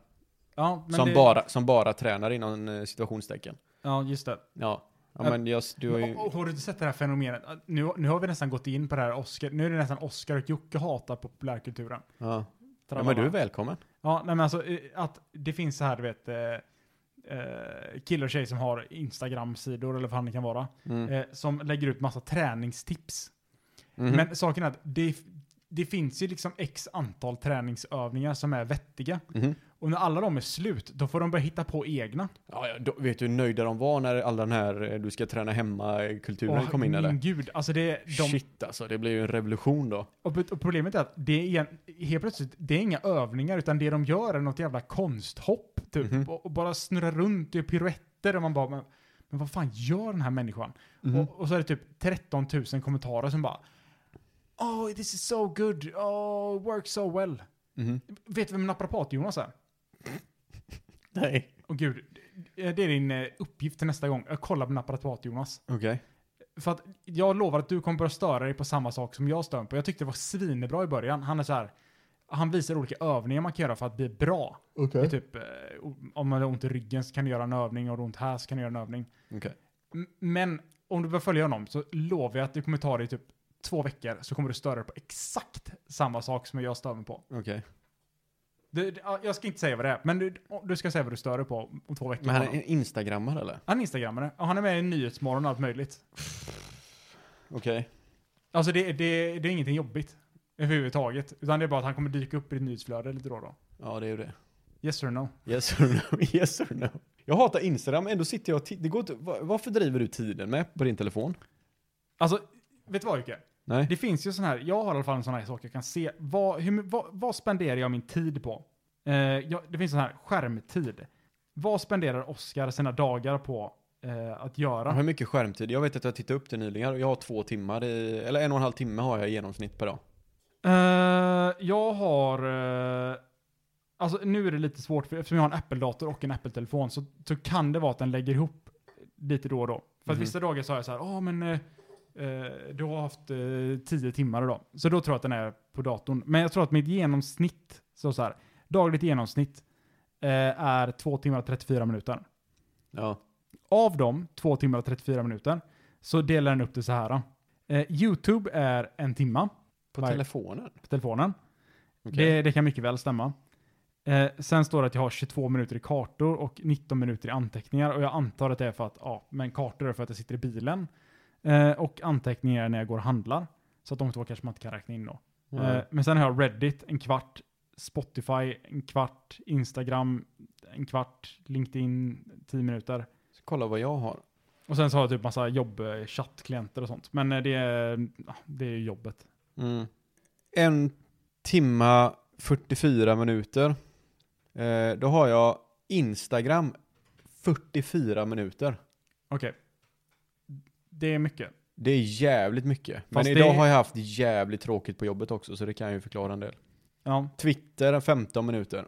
Speaker 1: ja men
Speaker 3: Som,
Speaker 1: det,
Speaker 3: bara, som bara tränar inom eh, situationstecken.
Speaker 1: Ja, just det.
Speaker 3: Ja. Ja,
Speaker 1: Ja.
Speaker 3: men jag, du har ju...
Speaker 1: Och, och har du inte sett det här fenomenet? Nu, nu har vi nästan gått in på det här Oscar. Nu är det nästan Oscar och Jocke hatar populärkulturen.
Speaker 3: Ja. ja, men du är
Speaker 1: Tralala.
Speaker 3: välkommen.
Speaker 1: Ja, nej men alltså eh, att det finns så här, du vet, eh, eh, killar och tjejer som har Instagram-sidor eller vad fan det kan vara,
Speaker 3: Mm.
Speaker 1: eh, som lägger ut massa träningstips.
Speaker 3: Mhm.
Speaker 1: Men saken är att det, det finns ju liksom x antal träningsövningar som är vettiga.
Speaker 3: Mhm.
Speaker 1: Och när alla de är slut, då får de börja hitta på egna.
Speaker 3: Ja, ja, då, vet du hur nöjda de var när all den här eh, du ska träna hemma-kulturen
Speaker 1: Åh,
Speaker 3: kom in
Speaker 1: min
Speaker 3: eller?
Speaker 1: gud, alltså det, de,
Speaker 3: Shit alltså, det blir ju en revolution då.
Speaker 1: Och, och problemet är att det är igen- helt plötsligt, det är inga övningar utan det de gör är något jävla konsthopp typ.
Speaker 3: Mhm.
Speaker 1: Och, och bara snurrar runt i piruetter och man bara, men, men vad fan gör den här människan?
Speaker 3: Mhm.
Speaker 1: Och, och så är det typ 13 000 kommentarer som bara, oh this is so good, oh works so well.
Speaker 3: Mhm.
Speaker 1: Vet du vem naprapat-Jonas är?
Speaker 3: Nej.
Speaker 1: Åh gud, det det är din eh, uppgift till nästa gång. Jag kollar på naprapat-Jonas.
Speaker 3: Okej.
Speaker 1: För att jag lovar att du kommer börja störa dig på samma sak som jag stör mig på. Jag tyckte det var svinbra i början. Han är så här, han visar olika övningar man kan göra för att bli bra.
Speaker 2: Okej.
Speaker 1: Det är typ, eh, om man har ont i ryggen så kan du göra en övning, och har du ont här så kan du göra en övning.
Speaker 3: Okej.
Speaker 1: M- Men om du börjar följa honom så lovar jag att det kommer ta dig typ två veckor så kommer du störa dig på exakt samma sak som jag stör mig på.
Speaker 3: Okej.
Speaker 1: Du, du- ja, jag ska inte säga vad det är, men du, du ska säga vad du stör dig på om två veckor.
Speaker 3: Men han
Speaker 1: på honom.
Speaker 3: är instagrammare eller?
Speaker 1: han är instagrammare och han är med i Nyhetsmorgon och allt möjligt.
Speaker 3: Okej.
Speaker 1: Alltså det, det, det är ingenting jobbigt överhuvudtaget. Utan det är bara att han kommer dyka upp i ditt nyhetsflöde lite då och då.
Speaker 3: Ja, det är ju det.
Speaker 1: Yes or no?
Speaker 3: Yes or no? Yes or no? Jag hatar Instagram, ändå sitter jag och ti- det går inte, va- Varför driver du tiden med på din telefon?
Speaker 1: Alltså, vet du vad Jocke?
Speaker 3: Nej.
Speaker 1: Det finns ju sån här, jag har i alla fall en sån här sak jag kan se. Vad, hur, vad, vad spenderar jag min tid på? Eh, jag, det finns sån här skärmtid. Vad spenderar Oscar sina dagar på eh, att
Speaker 3: Jag har
Speaker 1: göra?
Speaker 3: mycket skärmtid. Jag vet att jag tittade upp det nyligen och jag har två timmar i, eller en och en halv timme har jag i genomsnitt per dag.
Speaker 1: Eh, jag har... Eh, alltså nu är det lite svårt, för eftersom jag har en Apple-dator och en Apple-telefon så, så kan det vara att den lägger ihop lite då och då. För att
Speaker 3: Mhm.
Speaker 1: vissa dagar så har jag så här, ja men eh, eh, du har haft eh, tio timmar idag. Så då tror jag att den är på datorn. Men jag tror att mitt genomsnitt, så, så här, dagligt genomsnitt eh, är två timmar och 34 minuter.
Speaker 3: Ja.
Speaker 1: Av dem, två timmar och 34 minuter, så delar den upp det så här. Eh, YouTube är en timma
Speaker 3: På
Speaker 1: Varje-
Speaker 3: telefonen?
Speaker 1: på telefonen.
Speaker 3: Okej.
Speaker 1: Det, det kan mycket väl stämma. Eh, sen står det att jag har 22 minuter i kartor och 19 minuter i anteckningar. Och jag antar att det är för att, ja, men kartor är för att jag sitter i bilen. Eh, och anteckningar är när jag går och handlar. Så att de två kanske man inte kan räkna in då. Eh, men sen har jag Reddit en kvart, Spotify en kvart, Instagram en kvart, LinkedIn 10 minuter.
Speaker 3: Så kolla vad jag har.
Speaker 1: Och sen så har jag typ massa jobb, eh, chattklienter och sånt. Men eh, det är, ja, det är ju jobbet.
Speaker 3: Mm. En timma 44 minuter. Eh, då har jag Instagram 44 minuter.
Speaker 1: Okej. Det är mycket.
Speaker 3: Det är jävligt mycket. Men
Speaker 1: Fast
Speaker 3: idag
Speaker 1: det-
Speaker 3: har jag haft jävligt tråkigt på jobbet också så det kan ju förklara en del.
Speaker 1: Ja.
Speaker 3: Twitter 15 minuter.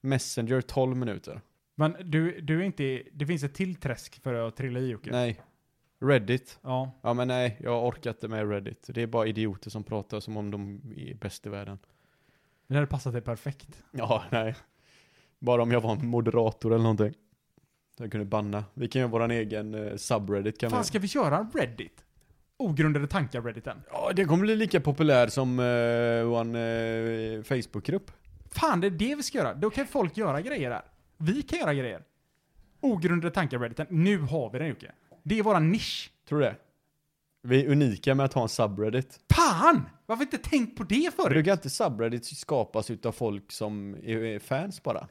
Speaker 3: Messenger 12 minuter.
Speaker 1: Men du, du är inte, det finns ett till träsk för att trilla i Jocke.
Speaker 3: Nej. Reddit.
Speaker 1: Ja,
Speaker 3: Ja men nej, jag orkar inte med Reddit. Det är bara idioter som pratar som om de är bäst i världen.
Speaker 1: det hade passat dig perfekt.
Speaker 3: Ja, nej. Bara om jag var en moderator eller någonting. Så jag kunde banna. Vi kan göra våran egen eh, subreddit kan
Speaker 1: Fan,
Speaker 3: vi.
Speaker 1: ska vi köra en Reddit? Ogrundade tankar Redditen.
Speaker 3: Ja, den kommer bli lika populär som eh, vår eh, Facebookgrupp.
Speaker 1: Fan, det är det vi ska göra. Då kan folk göra grejer där. Vi kan göra grejer. Ogrundade tankar Redditen. Nu har vi den Jocke. Det är våran nisch.
Speaker 3: Tror du det? Vi är unika med att ha en subreddit.
Speaker 1: Fan! Varför inte tänkt på det förut?
Speaker 3: Brukar inte subreddit skapas utav folk som är- är fans bara?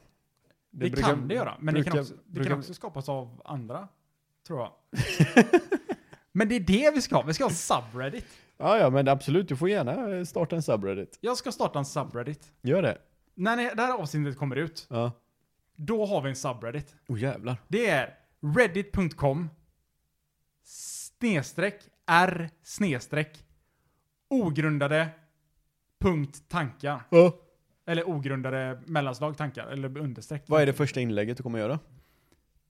Speaker 1: Det,
Speaker 3: brukar-
Speaker 1: kan det göra, men det,
Speaker 3: brukar-
Speaker 1: kan också, det
Speaker 3: brukar-
Speaker 1: kan också skapas av andra. Tror jag. men det är det vi ska ha. Vi ska ha en subreddit.
Speaker 3: Ja, ja, men absolut. Du får gärna eh, starta en subreddit.
Speaker 1: Jag ska starta en subreddit.
Speaker 3: Gör det.
Speaker 1: När ni- det här avsnittet kommer ut,
Speaker 3: Ja.
Speaker 1: Då har vi en subreddit.
Speaker 3: Oh jävlar.
Speaker 1: Det är reddit.com snedstreck r snedstreck ogrundade punkt tankar. Eller ogrundade mellanslag tankar, eller understreck.
Speaker 3: Vad är det första inlägget du kommer göra?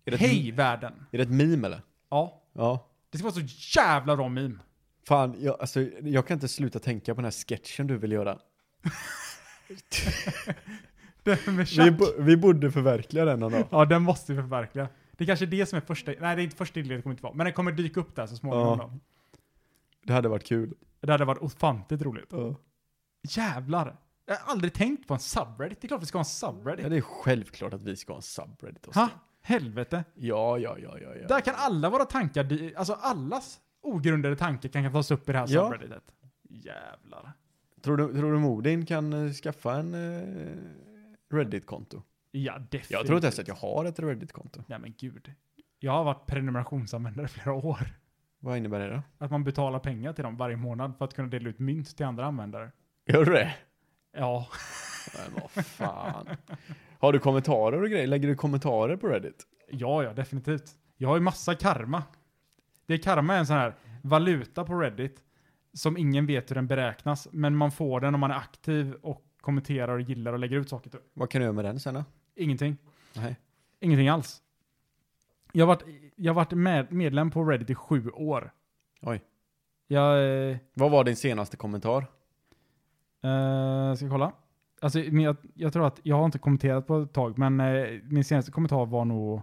Speaker 3: Är det ett-
Speaker 1: Hej världen!
Speaker 3: Är det ett meme eller?
Speaker 1: Ja,
Speaker 3: Ja.
Speaker 1: det ska vara så jävla bra meme.
Speaker 3: Fan, jag, alltså, jag kan inte sluta tänka på den här sketchen du vill göra.
Speaker 1: Det med
Speaker 3: Vi,
Speaker 1: Chuck.
Speaker 3: bo, vi borde förverkliga den någon dag.
Speaker 1: Ja, den måste vi förverkliga. Det är kanske är det som är första, nej det är inte första inlägget, det kommer inte vara, men den kommer dyka upp där så småningom
Speaker 3: Ja.
Speaker 1: då.
Speaker 3: Det hade varit kul.
Speaker 1: Det hade varit ofantligt roligt.
Speaker 3: Ja.
Speaker 1: Jävlar! Jag har aldrig tänkt på en subreddit, det är klart vi ska ha en subreddit.
Speaker 3: det är självklart att vi ska ha en subreddit. Oskar.
Speaker 1: Ha? Helvete.
Speaker 3: Ja, ja, ja, ja. ja.
Speaker 1: Där kan alla våra tankar, dy- alltså allas ogrundade tankar kan tas upp i det här
Speaker 3: Ja.
Speaker 1: subredditet. Jävlar.
Speaker 3: Tror, du, tror du Modin kan eh, skaffa en eh, Reddit-konto?
Speaker 1: Ja, definitivt.
Speaker 3: Jag tror inte ens att jag har ett Reddit-konto.
Speaker 1: Nej men gud. Jag har varit prenumerationsanvändare i flera år.
Speaker 3: Vad innebär det då?
Speaker 1: Att man betalar pengar till dem varje månad för att kunna dela ut mynt till andra användare.
Speaker 3: Gör du det?
Speaker 1: Ja.
Speaker 3: Men vad fan. Har du kommentarer och grejer? Lägger du kommentarer på Reddit?
Speaker 1: Ja, ja, definitivt. Jag har ju massa karma. Det är karma är en sån här valuta på Reddit som ingen vet hur den beräknas, men man får den om man är aktiv och kommenterar och gillar och lägger ut saker. till-
Speaker 3: Vad kan du göra med den sen då?
Speaker 1: Ingenting.
Speaker 3: Nej.
Speaker 1: Ingenting alls. Jag har varit, jag har varit med, medlem på Reddit i sju år.
Speaker 3: Oj.
Speaker 1: Jag eh,
Speaker 3: Vad var din senaste kommentar?
Speaker 1: eh, ska kolla. Alltså, men jag, jag tror att jag har inte kommenterat på ett tag, men eh, min senaste kommentar var nog...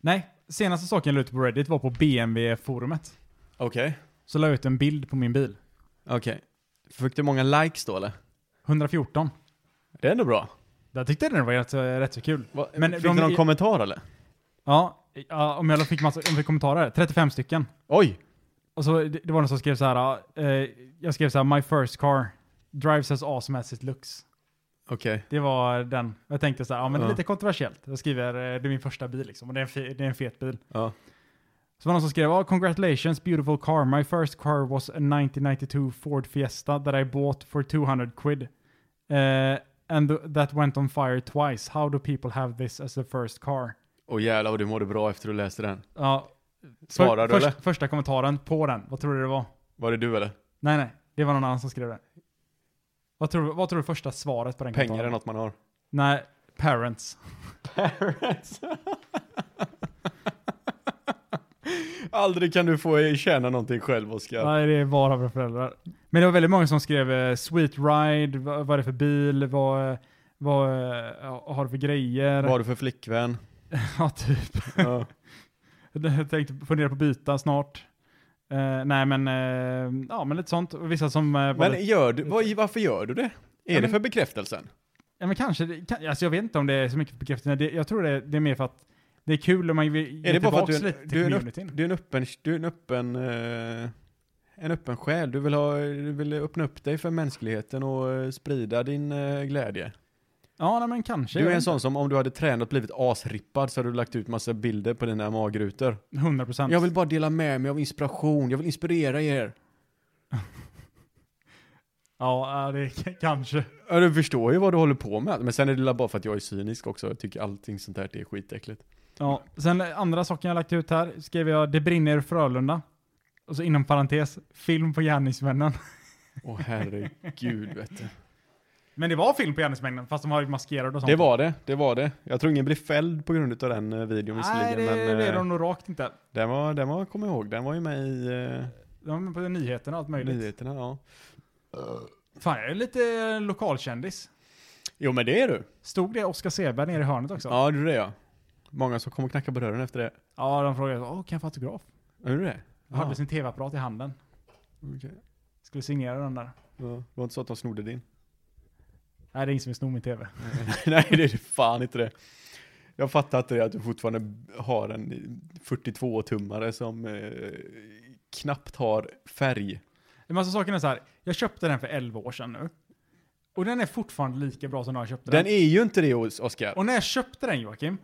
Speaker 1: Nej, senaste saken jag la ut på Reddit var på BMW-forumet.
Speaker 3: Okej.
Speaker 1: Så la jag ut en bild på min bil.
Speaker 3: Okej. Fick du många likes då eller?
Speaker 1: 114.
Speaker 3: Det är ändå bra.
Speaker 1: Där tyckte jag den var rätt, rätt så kul.
Speaker 3: Va,
Speaker 1: Men
Speaker 3: fick
Speaker 1: de-
Speaker 3: du någon kommentar eller?
Speaker 1: Ja, ja, om jag fick massa om jag fick kommentarer. 35 stycken.
Speaker 3: Oj!
Speaker 1: Och så det, det var någon som skrev så här. eh, jag skrev så här, my first car drives as awesome as it looks.
Speaker 3: Okej.
Speaker 1: Det var den. Jag tänkte så här, ja men det är
Speaker 3: Ja.
Speaker 1: lite kontroversiellt. Jag skriver, eh, det är min första bil liksom och det är en, fe, det är en fet bil.
Speaker 3: Ja.
Speaker 1: Så var det någon som skrev, oh, congratulations beautiful car. My first car was a 1992 Ford Fiesta that I bought for 200 quid. Eh, and th- that went on fire twice. How do people have this as the first car?
Speaker 3: Och jävlar vad du mådde bra efter du läste den.
Speaker 1: Ja,
Speaker 3: Svarade du
Speaker 1: först,
Speaker 3: eller?
Speaker 1: Första kommentaren på den, vad tror du det var?
Speaker 3: Var det du eller?
Speaker 1: Nej, nej, det var någon annan som skrev det. Vad tror, du- vad tror du första svaret på den
Speaker 3: Pengar är
Speaker 1: kommentaren?
Speaker 3: något man har.
Speaker 1: Nej, parents.
Speaker 3: Parrots. Aldrig kan du få tjäna någonting själv Oskar.
Speaker 1: Nej, det är bara våra föräldrar. Men det var väldigt många som skrev eh, sweet ride, vad, vad är det för bil, vad, eh, vad eh, har du för grejer?
Speaker 3: Vad har du för flickvän?
Speaker 1: Ja, typ.
Speaker 3: Ja.
Speaker 1: Jag tänkte fundera på att byta snart. Eh, nej, men, eh, ja, men lite sånt. Och Vissa som... eh, var lite-
Speaker 3: Men gör du, vad, varför gör du det? Är
Speaker 1: men-
Speaker 3: det för bekräftelsen?
Speaker 1: ja, men kanske, det- kan, alltså jag vet inte om det är så mycket för bekräftelse. Det, jag tror det, det är mer för att det är kul om man vill
Speaker 3: Är det bara för att
Speaker 1: tillbaks
Speaker 3: du är,
Speaker 1: lite
Speaker 3: du
Speaker 1: till
Speaker 3: är, en,
Speaker 1: communityn.
Speaker 3: upp, du är en öppen, du är en öppen, eh, en öppen själ? Du vill, ha, du vill öppna upp dig för mänskligheten och eh, sprida din eh, glädje?
Speaker 1: Ja, nej, men kanske.
Speaker 3: Du är en sån som om du hade tränat och blivit asrippad så hade du lagt ut massa bilder på dina magrutor.
Speaker 1: 100 procent.
Speaker 3: Jag vill bara dela med mig av inspiration, jag vill inspirera er.
Speaker 1: Ja, ja, det k- kanske.
Speaker 3: Ja, du förstår ju vad du håller på med. Men sen är det väl bara för att jag är cynisk också. Jag tycker allting sånt här det är skitäckligt.
Speaker 1: Ja, sen andra saken jag lagt ut här skrev jag Det brinner i Frölunda. Och så inom parentes, film på gärningsmännen.
Speaker 3: Åh herregud vet du.
Speaker 1: Men det var film på gärningsmännen, fast de har ju maskerade och sånt.
Speaker 3: Det var det, det var det. Jag tror ingen blev fälld på grund av den eh, videon
Speaker 1: Nej,
Speaker 3: visserligen.
Speaker 1: det,
Speaker 3: men
Speaker 1: det är
Speaker 3: eh,
Speaker 1: de nog rakt inte.
Speaker 3: den var, den var, kom ihåg, den var ju med i eh,
Speaker 1: De är på nyheterna och allt möjligt.
Speaker 3: nyheterna. Ja.
Speaker 1: Fan, jag är lite eh, lokalkändis.
Speaker 3: Jo men det är du.
Speaker 1: Stod det Oskar Seberg nere i hörnet också?
Speaker 3: Ja du är det ja. Många som kommer knacka på dörren efter det.
Speaker 1: Ja, de frågade Åh, kan jag få autograf?
Speaker 3: Är du det?
Speaker 1: Jag hade sin tv-apparat i handen.
Speaker 3: okej.
Speaker 1: Skulle signera den där.
Speaker 3: Ja, Det var inte så att de snodde din?
Speaker 1: Nej, det är ingen som vill sno min tv.
Speaker 3: Nej det är fan inte det. Jag fattar inte det att du fortfarande har en 42-tummare som eh, knappt har färg.
Speaker 1: En massa saker är så här. Jag köpte den för 11 år sedan nu. Och den är fortfarande lika bra som när jag köpte den.
Speaker 3: Den är ju inte det Os- Oscar.
Speaker 1: Och när jag köpte den Joakim,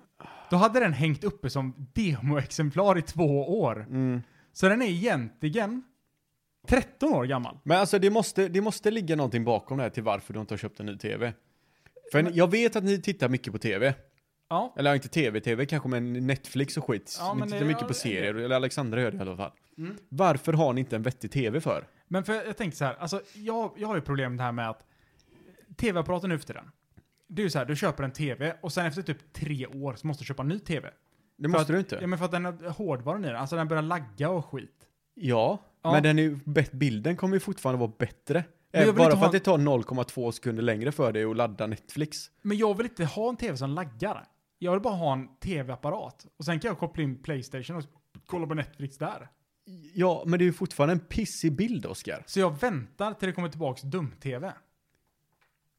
Speaker 1: då hade den hängt uppe som demoexemplar i två år.
Speaker 3: Mm.
Speaker 1: Så den är egentligen 13 år gammal.
Speaker 3: Men alltså det måste, det måste ligga någonting bakom det här till varför du inte har köpt en ny tv. För jag vet att ni tittar mycket på tv.
Speaker 1: Ja,
Speaker 3: Eller ja, inte tv-tv kanske, men Netflix och skit.
Speaker 1: Ja,
Speaker 3: Ni
Speaker 1: men
Speaker 3: tittar
Speaker 1: det-
Speaker 3: mycket
Speaker 1: ja,
Speaker 3: på
Speaker 1: det-
Speaker 3: serier, eller Alexandra gör det i alla fall.
Speaker 1: Mm.
Speaker 3: Varför har ni inte en vettig tv för?
Speaker 1: men för jag tänkte så här, alltså jag, jag har ju problem med det här med att tv-apparaten nu för tiden. Det är ju så här, du köper en tv och sen efter typ tre år så måste du köpa en ny tv.
Speaker 3: Det
Speaker 1: För att-
Speaker 3: måste du inte.
Speaker 1: Ja, men för att den har hårdvaran i den, alltså den börjar lagga och skit.
Speaker 3: Ja,
Speaker 1: Ja.
Speaker 3: men den är ju, bet- bilden kommer ju fortfarande vara bättre.
Speaker 1: Men jag
Speaker 3: Eh,
Speaker 1: vill
Speaker 3: Bara
Speaker 1: inte
Speaker 3: för
Speaker 1: ha-
Speaker 3: att det tar 0,2 sekunder längre för dig att ladda Netflix.
Speaker 1: Men jag vill inte ha en tv som laggar. Jag vill bara ha en tv-apparat. Och sen kan jag koppla in Playstation och kolla på Netflix där.
Speaker 3: Ja, men det är ju fortfarande en pissig bild, Oskar.
Speaker 1: Så jag väntar till det kommer tillbaks dum-tv.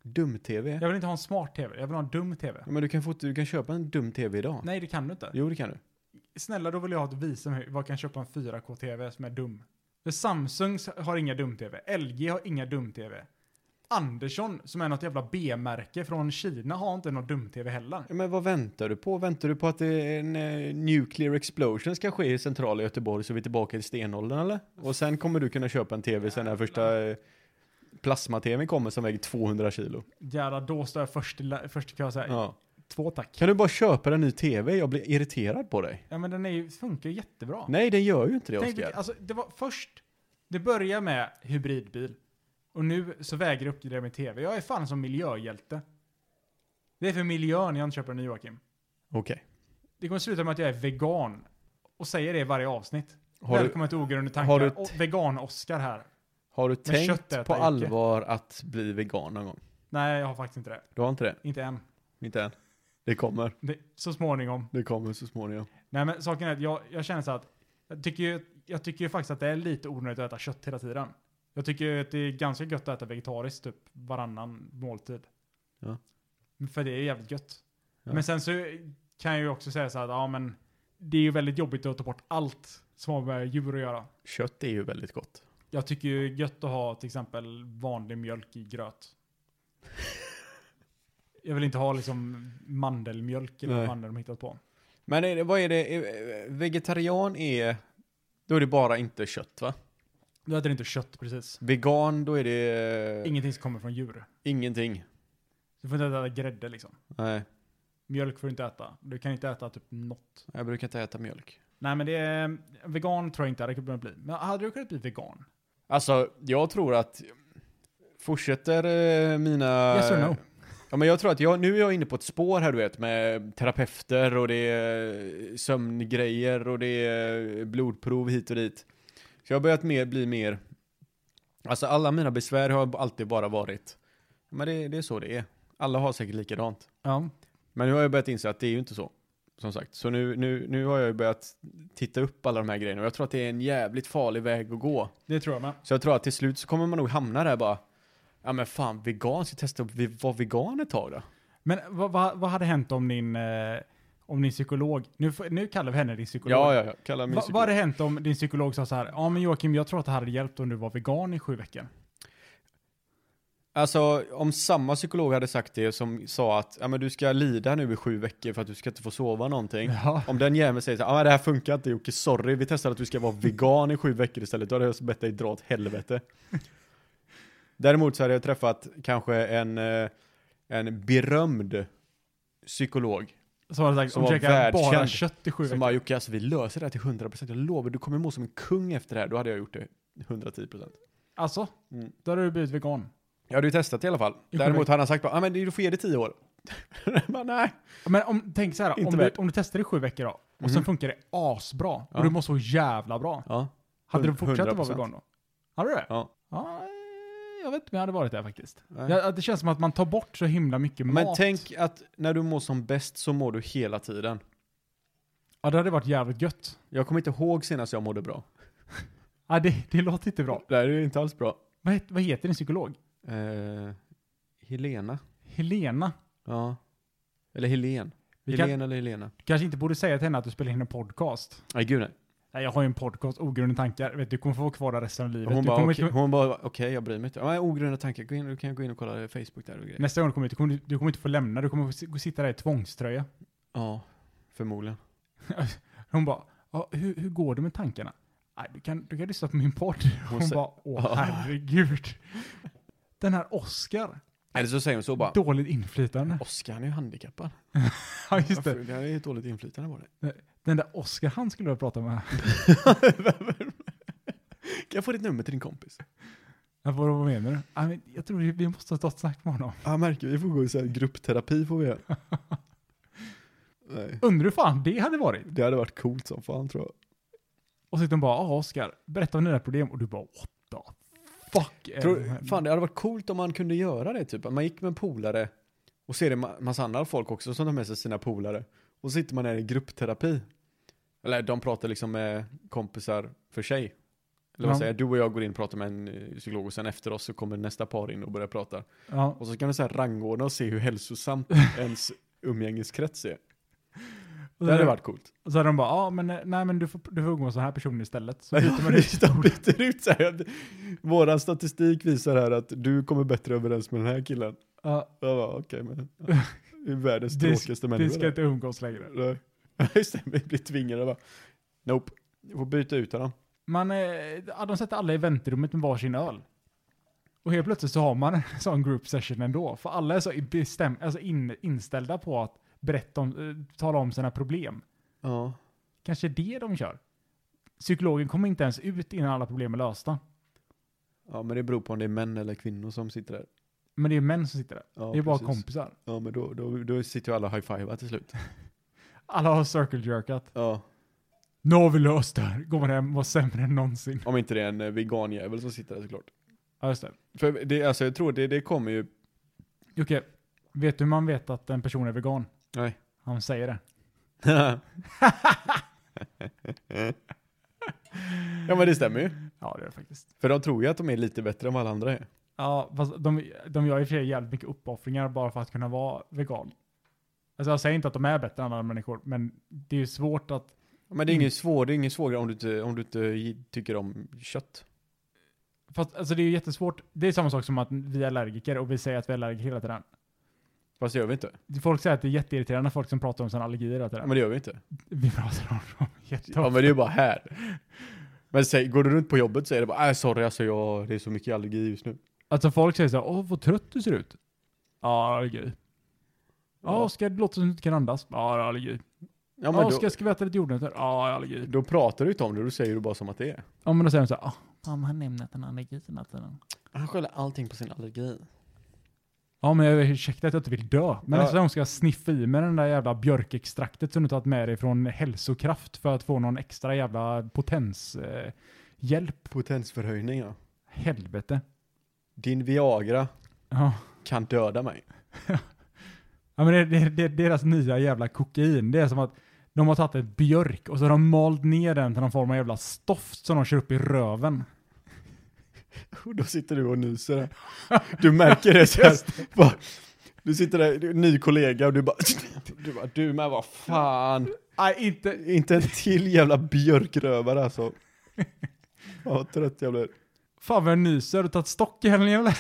Speaker 3: Dum-tv.
Speaker 1: Jag vill inte ha en smart-tv, jag vill ha en dum-tv.
Speaker 3: Ja, men du kan, fort, du kan köpa en dum-tv idag.
Speaker 1: Nej, det kan du inte.
Speaker 3: Jo, det kan du.
Speaker 1: Snälla, då vill jag ha ett visum hur- vad jag kan köpa en 4K-tv som är dum. För Samsung s- har inga dum-tv, LG har inga dum-tv. Andersson, som är något jävla B-märke från Kina, har inte någon dum-tv heller.
Speaker 3: Ja, men vad väntar du på? Väntar du på att det är en eh, nuclear explosion ska ske i centrala Göteborg så vi är tillbaka till stenåldern eller? Och sen kommer du kunna köpa en tv sen när första eh, plasma-tvn kommer som väger 200 kilo.
Speaker 1: Jävlar, då står jag först i, la- först i kö och säger
Speaker 3: Ja.
Speaker 1: två tack.
Speaker 3: Kan du bara köpa en ny tv? Jag blir irriterad på dig.
Speaker 1: Ja men den är ju, funkar ju jättebra.
Speaker 3: Nej, den gör ju inte det
Speaker 1: Tänk,
Speaker 3: Oskar.
Speaker 1: vilket- alltså, det var först, det börjar med hybridbil. Och nu så vägrar jag uppgradera min tv. Jag är fan som miljöhjälte. Det är för miljön jag inte köper en ny Joakim.
Speaker 3: Okej.
Speaker 1: Det kommer sluta med att jag är vegan. Och säger det i varje avsnitt.
Speaker 3: Har du,
Speaker 1: Välkommen till ogrundade tankar.
Speaker 3: har du
Speaker 1: Och Vegan-Oskar här.
Speaker 3: har du tänkt
Speaker 1: köttätaryrke.
Speaker 3: på allvar att bli vegan någon gång?
Speaker 1: Nej, jag har faktiskt inte det.
Speaker 3: Du har inte det?
Speaker 1: Inte än.
Speaker 3: Inte än. Det kommer.
Speaker 1: Det, så småningom.
Speaker 3: Det kommer så småningom.
Speaker 1: Nej men saken är att jag, jag känner så att jag tycker, ju, jag tycker ju faktiskt att det är lite onödigt att äta kött hela tiden. Jag tycker ju att det är ganska gött att äta vegetariskt typ varannan måltid.
Speaker 3: Ja.
Speaker 1: För det är jävligt gött.
Speaker 3: Ja.
Speaker 1: Men sen så kan jag ju också säga så här att ja men det är ju väldigt jobbigt att ta bort allt som har med djur att göra.
Speaker 3: Kött är ju väldigt gott.
Speaker 1: Jag tycker ju gött att ha till exempel vanlig mjölk i gröt. Jag vill inte ha liksom mandelmjölk eller
Speaker 3: Nej.
Speaker 1: vad fan de hittat på.
Speaker 3: Men är det, vad är det? eh, Vegetarian är... Då är det bara inte kött va?
Speaker 1: Du äter inte kött precis.
Speaker 3: Vegan, då är det...
Speaker 1: Ingenting som kommer från djur.
Speaker 3: Ingenting.
Speaker 1: Du får inte äta grädde liksom.
Speaker 3: Nej,
Speaker 1: Mjölk får du inte äta. Du kan inte äta typ något.
Speaker 3: jag brukar inte äta mjölk.
Speaker 1: Nej men det är, eh, vegan tror jag inte hade kunnat bli. Men hade du kunnat bli vegan?
Speaker 3: Alltså, jag tror att... Fortsätter eh, mina...
Speaker 1: yes or no?
Speaker 3: Ja, men jag tror att jag, nu är jag inne på ett spår här du vet med terapeuter och det är sömngrejer och det är blodprov hit och dit. Så jag har börjat mer, bli mer, alltså alla mina besvär har alltid bara varit, men det, det är så det är. Alla har säkert likadant.
Speaker 1: Ja.
Speaker 3: Men nu har jag börjat inse att det är ju inte så. Som sagt, så nu, nu, nu har jag ju börjat titta upp alla de här grejerna och jag tror att det är en jävligt farlig väg att gå.
Speaker 1: Det tror jag med.
Speaker 3: Så jag tror att till slut så kommer man nog hamna där bara, ja men fan vegan, ska jag testa att vara vegan ett tag då?
Speaker 1: Men vad, vad, vad hade hänt om din, eh, om din psykolog, nu, får- nu kallar vi henne din psykolog.
Speaker 3: Ja, ja, ja. Kalla mig
Speaker 1: Va,
Speaker 3: psykolog.
Speaker 1: vad hade hänt om din psykolog sa så här, ja men Joakim jag tror att det här hade hjälpt om du var vegan i sju veckor.
Speaker 3: Alltså, om samma psykolog hade sagt det som sa att ja, men du ska lida nu i sju veckor för att du ska inte få sova någonting.
Speaker 1: Ja.
Speaker 3: Om den jäveln säger så här, "Ja, men det här funkar inte Jocke, sorry, vi testade att du ska vara vegan i sju veckor istället, då hade jag bett dig dra åt helvete. Däremot så hade jag träffat kanske en, eh, en berömd psykolog
Speaker 1: Så hade jag sagt,
Speaker 3: Som
Speaker 1: om
Speaker 3: var
Speaker 1: du käkar bara
Speaker 3: världskänd.
Speaker 1: kött i sju
Speaker 3: som
Speaker 1: veckor.
Speaker 3: bara Jocke, alltså vi löser det här till 100%, jag lovar, du kommer må som en kung efter det här, då hade jag gjort det 110%.
Speaker 1: Alltså,
Speaker 3: Mm.
Speaker 1: då hade du blivit vegan.
Speaker 3: Jag hade ju testat i alla fall.
Speaker 1: sju
Speaker 3: Däremot
Speaker 1: veckor.
Speaker 3: hade han sagt bara, ah, men du får ge det tio år. bara, nej.
Speaker 1: Men om, tänk så här,
Speaker 3: Inte
Speaker 1: om du,
Speaker 3: värt.
Speaker 1: om du testar i sju veckor då, och
Speaker 3: Mhm.
Speaker 1: sen funkar det asbra,
Speaker 3: Ja.
Speaker 1: och du mår så jävla bra.
Speaker 3: Ja.
Speaker 1: Hade du
Speaker 3: Hund-
Speaker 1: fortsatt att vara
Speaker 3: 100%.
Speaker 1: vegan då? Hade du det?
Speaker 3: Ja.
Speaker 1: Ja, eh, jag vet inte om jag hade varit där faktiskt.
Speaker 3: Nej.
Speaker 1: Ja, det känns som att man tar bort så himla mycket
Speaker 3: Men
Speaker 1: mat.
Speaker 3: tänk att när du mår som bäst så mår du hela tiden.
Speaker 1: Ja, det hade varit jävligt gött.
Speaker 3: Jag kommer inte ihåg senast jag mådde bra.
Speaker 1: Ja, det, det låter inte bra.
Speaker 3: Det här är inte alls bra.
Speaker 1: Vad, het, vad heter din psykolog?
Speaker 3: Eh, Helena.
Speaker 1: Helena.
Speaker 3: Ja. Eller Helen.
Speaker 1: Vi
Speaker 3: Helen
Speaker 1: kan,
Speaker 3: eller Helena.
Speaker 1: kanske inte borde säga till henne att du spelar in en podcast.
Speaker 3: Nej gud nej.
Speaker 1: Nej, jag har ju en podcast, Ogrundade tankar. Vet, du kommer få vara kvar där resten av livet.
Speaker 3: Hon
Speaker 1: du
Speaker 3: bara,
Speaker 1: kommer
Speaker 3: okej,
Speaker 1: inte,
Speaker 3: hon bara, okej, jag bryr mig inte. Ja, men Ogrundade tankar, gå in, du kan gå in och kolla Facebook där och grejer.
Speaker 1: nästa gång du kommer hit, du kommer, du kommer inte få lämna. Du kommer få si- sitta där i tvångströja.
Speaker 3: Ja, förmodligen.
Speaker 1: Hon bara, ja, hur, hur går det med tankarna? Nej, du, kan, du kan lyssna på min podd. Hon,
Speaker 3: sa-
Speaker 1: bara, åh herregud. Den här Oscar,
Speaker 3: Eller så säger hon så bara.
Speaker 1: Dåligt inflytande.
Speaker 3: Oskar han är ju handikappad.
Speaker 1: Ja, just det.
Speaker 3: Varför? Det här är ju ett dåligt inflytande på det.
Speaker 1: Den där Oskar han skulle jag prata med.
Speaker 3: Kan jag få ditt nummer till din kompis?
Speaker 1: Jag får vad menar du? Ja, men Jag tror vi måste ta ett snack med honom.
Speaker 3: Ja, märker vi får gå i så här gruppterapi får vi göra. Nej,
Speaker 1: Undrar hur fan det hade varit?
Speaker 3: det hade varit coolt som fan tror jag.
Speaker 1: Och så sitter de bara, ja Oskar, berätta om dina problem. Och du bara, what the fuck? är det här?"
Speaker 3: Tror, fan, det hade varit coolt om man kunde göra det typ. Att Man gick med en polare och ser det ma- massa andra folk också som tar med sig sina polare. Och så sitter man där i gruppterapi. Eller de pratar liksom med kompisar för sig. Eller vad
Speaker 1: Ja.
Speaker 3: säger jag? Du och jag går in och pratar med en eh, psykolog och sen efter oss så kommer nästa par in och börjar prata.
Speaker 1: Ja,
Speaker 3: Och så kan du så här rangordna och se hur hälsosamt ens umgängeskrets är.
Speaker 1: och
Speaker 3: Det hade varit coolt.
Speaker 1: Och så hade de bara, ja men eh, nej men du får, du får umgås med så här personer istället. Så
Speaker 3: Nej,
Speaker 1: byter man
Speaker 3: jag
Speaker 1: ut.
Speaker 3: byter, byter ut så här. Våran statistik visar här att du kommer bättre överens med den här killen.
Speaker 1: Ja,
Speaker 3: Jag bara, okej men. Ja. Du är världens
Speaker 1: Det-
Speaker 3: tråkigaste
Speaker 1: vi
Speaker 3: människa.
Speaker 1: ska
Speaker 3: där.
Speaker 1: inte umgås längre.
Speaker 3: Nej. Ja, Just det, vi blir tvingade bara. Nope. Du får byta ut honom.
Speaker 1: Man, eh, ja, de sätter alla i väntrummet med varsin öl. Och helt plötsligt så har man en sån group session ändå. För alla är så i- bestäm, alltså in, inställda på att berätta om, eh, tala om sina problem.
Speaker 3: Ja.
Speaker 1: Kanske det de kör. Psykologen kommer inte ens ut innan alla problem är lösta.
Speaker 3: ja, men det beror på om det är män eller kvinnor som sitter där.
Speaker 1: Men det är män som sitter där.
Speaker 3: Ja,
Speaker 1: det är bara
Speaker 3: precis.
Speaker 1: kompisar.
Speaker 3: Ja, men då, då, då sitter ju alla high-fivar till slut.
Speaker 1: Alla har circle-jerkat.
Speaker 3: Ja.
Speaker 1: Nu har vi löst det här. Går man hem och var sämre än någonsin.
Speaker 3: Om inte det är en eh, veganjävel som sitter där såklart.
Speaker 1: Ja, just det.
Speaker 3: För det, alltså jag tror det, det kommer ju,
Speaker 1: Jocke, vet du hur man vet att en person är vegan?
Speaker 3: nej.
Speaker 1: Han säger det.
Speaker 3: ja men det stämmer ju.
Speaker 1: Ja, det är det faktiskt.
Speaker 3: För de tror ju att de är lite bättre än vad alla andra är.
Speaker 1: Ja, fast de, de gör i och för sig jävligt mycket uppoffringar bara för att kunna vara vegan. Alltså jag säger inte att de är bättre än andra människor, men det är ju svårt att...
Speaker 3: Men det är ingen svår, det är ingen svårare om du inte, om du inte gi- tycker om kött.
Speaker 1: Fast alltså det är ju jättesvårt. Det är samma sak som att vi är allergiker och vi säger att vi är allergiker hela tiden.
Speaker 3: Fast det gör vi inte.
Speaker 1: Folk säger att det är jätteirriterande folk som pratar om sina allergier hela
Speaker 3: Ja,
Speaker 1: tiden.
Speaker 3: men det gör vi inte.
Speaker 1: Vi pratar om dem jätteofta.
Speaker 3: Ja men det är ju bara här. Men säg, går du runt på jobbet så är det bara, äh, sorry alltså jag, det är så mycket allergi just nu.
Speaker 1: Alltså folk säger så här, åh vad trött du ser ut. Ja, allergi. Ja, Oskar, det låter som du inte kan andas. Ja, allergi.
Speaker 3: ja
Speaker 1: ja,
Speaker 3: men
Speaker 1: ska
Speaker 3: då,
Speaker 1: jag ska vi äta lite jordnötter? Ja, jag har allergi.
Speaker 3: då pratar du inte om det, då säger du bara som att det är.
Speaker 1: Ja, men då säger de så här, ah, fan, han nämner att han har allergi hela tiden.
Speaker 3: Han skyller allting på sin allergi.
Speaker 1: Ja, men jag ursäkta att jag inte vill dö. Men
Speaker 3: Ja.
Speaker 1: nästa gång ska jag sniffa i mig den där jävla björkextraktet som du tagit med dig från hälsokraft för att få någon extra jävla potens. Eh, hjälp.
Speaker 3: Potensförhöjning ja.
Speaker 1: Helvete.
Speaker 3: Din Viagra
Speaker 1: Ja.
Speaker 3: kan döda mig.
Speaker 1: Ja, men det, det, det, deras nya jävla kokain, det är som att de har tagit ett björk och så har de malt ner den till någon form av jävla stoft som de kör upp i röven.
Speaker 3: Och då sitter du och nyser. här. Du märker det så här. Bara, du sitter där, du är en ny kollega och du bara, du, bara, du med vad fan.
Speaker 1: Nej, inte.
Speaker 3: Inte en till jävla björkrövare alltså. Fan vad trött jag blir.
Speaker 1: Fan vad jag nyser, har du tagit stock i helgen eller?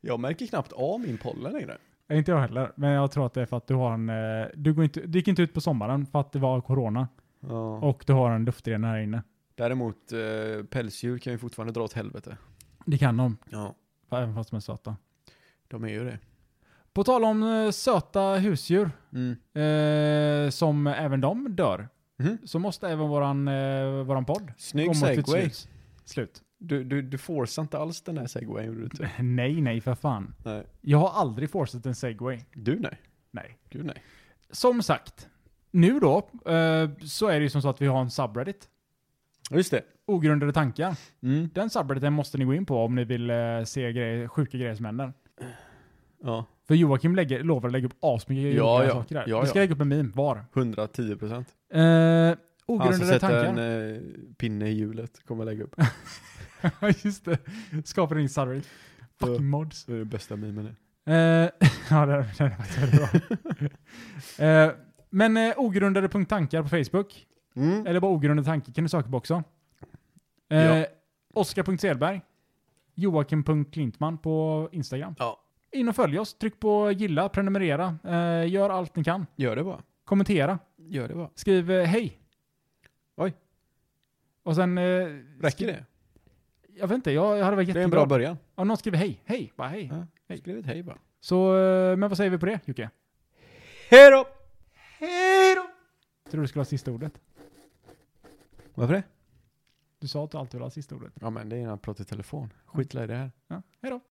Speaker 3: Jag märker knappt av min pollen längre.
Speaker 1: Nej, Inte jag heller, men jag tror att det är för att du har en... eh, Du, går inte, du gick inte ut på sommaren för att det var corona
Speaker 3: Ja.
Speaker 1: och du har en luftrenare här inne.
Speaker 3: Däremot eh, pälsdjur kan ju fortfarande dra åt helvete.
Speaker 1: Det kan de,
Speaker 3: Ja,
Speaker 1: även fast de är söta.
Speaker 3: de är ju det.
Speaker 1: På tal om eh, söta husdjur,
Speaker 3: Mm.
Speaker 1: eh, som även de dör,
Speaker 3: Mhm.
Speaker 1: så måste även våran, eh, våran podd
Speaker 3: Snygg
Speaker 1: komma till ett
Speaker 3: segway.
Speaker 1: slut. Slut.
Speaker 3: Du, du, du forcear inte alls den här segwayen gjorde du inte.
Speaker 1: Nej, nej för fan.
Speaker 3: Nej.
Speaker 1: Jag har aldrig forceat en segway.
Speaker 3: Du nej.
Speaker 1: Nej.
Speaker 3: Gud nej.
Speaker 1: Som sagt, nu då, eh, så är det ju som så att vi har en subreddit.
Speaker 3: Ja, Just det.
Speaker 1: Ogrundade tankar.
Speaker 3: Mm.
Speaker 1: Den subredditen måste ni gå in på om ni vill eh, se grejer, sjuka grejer som händer.
Speaker 3: Ja,
Speaker 1: För Joakim lägger, lovar att lägga upp asmycket
Speaker 3: Ja,
Speaker 1: jobbiga
Speaker 3: ja.
Speaker 1: saker där.
Speaker 3: Ja,
Speaker 1: vi ska
Speaker 3: ja.
Speaker 1: lägga upp en meme var.
Speaker 3: 110 procent.
Speaker 1: Eh,
Speaker 3: Han som
Speaker 1: ogrundade
Speaker 3: sätter
Speaker 1: tankar.
Speaker 3: en eh, pinne i hjulet kommer lägga upp.
Speaker 1: Ja, Just det. Skapar din subreddit.
Speaker 3: Ja.
Speaker 1: Fucking mods.
Speaker 3: Det är den bästa memen. det.
Speaker 1: Eh, ja, den den är faktiskt väldigt bra. Eh, men eh, ogrundade punkt tankar på Facebook.
Speaker 3: Mm.
Speaker 1: Eller bara ogrundade tankar kan du söka på också. Eh,
Speaker 3: Ja.
Speaker 1: Oskar.Selberg. Joakim.Klintman på Instagram.
Speaker 3: Ja.
Speaker 1: In och följ oss. Tryck på gilla, prenumerera. Eh, gör allt ni kan.
Speaker 3: Gör det bara.
Speaker 1: Kommentera.
Speaker 3: Gör det bara.
Speaker 1: Skriv eh, hej.
Speaker 3: Oj.
Speaker 1: Och sen... Eh,
Speaker 3: Räcker det?
Speaker 1: Jag vet inte, jag jag hade varit
Speaker 3: Det är en bra
Speaker 1: jätteglad.
Speaker 3: början.
Speaker 1: Om någon skriver hej, hej, bara hej.
Speaker 3: Ja,
Speaker 1: Hej.
Speaker 3: Skriv ett hej bara.
Speaker 1: Så, eh, men vad säger vi på det Jocke?
Speaker 3: Hej då! Hej då!
Speaker 1: Tror du skulle ha sista ordet?
Speaker 3: Varför det?
Speaker 1: Du sa att du alltid vill ha sista ordet.
Speaker 3: Ja men det är när han pratar i telefon. Skitla i det här.
Speaker 1: Ja, hej då.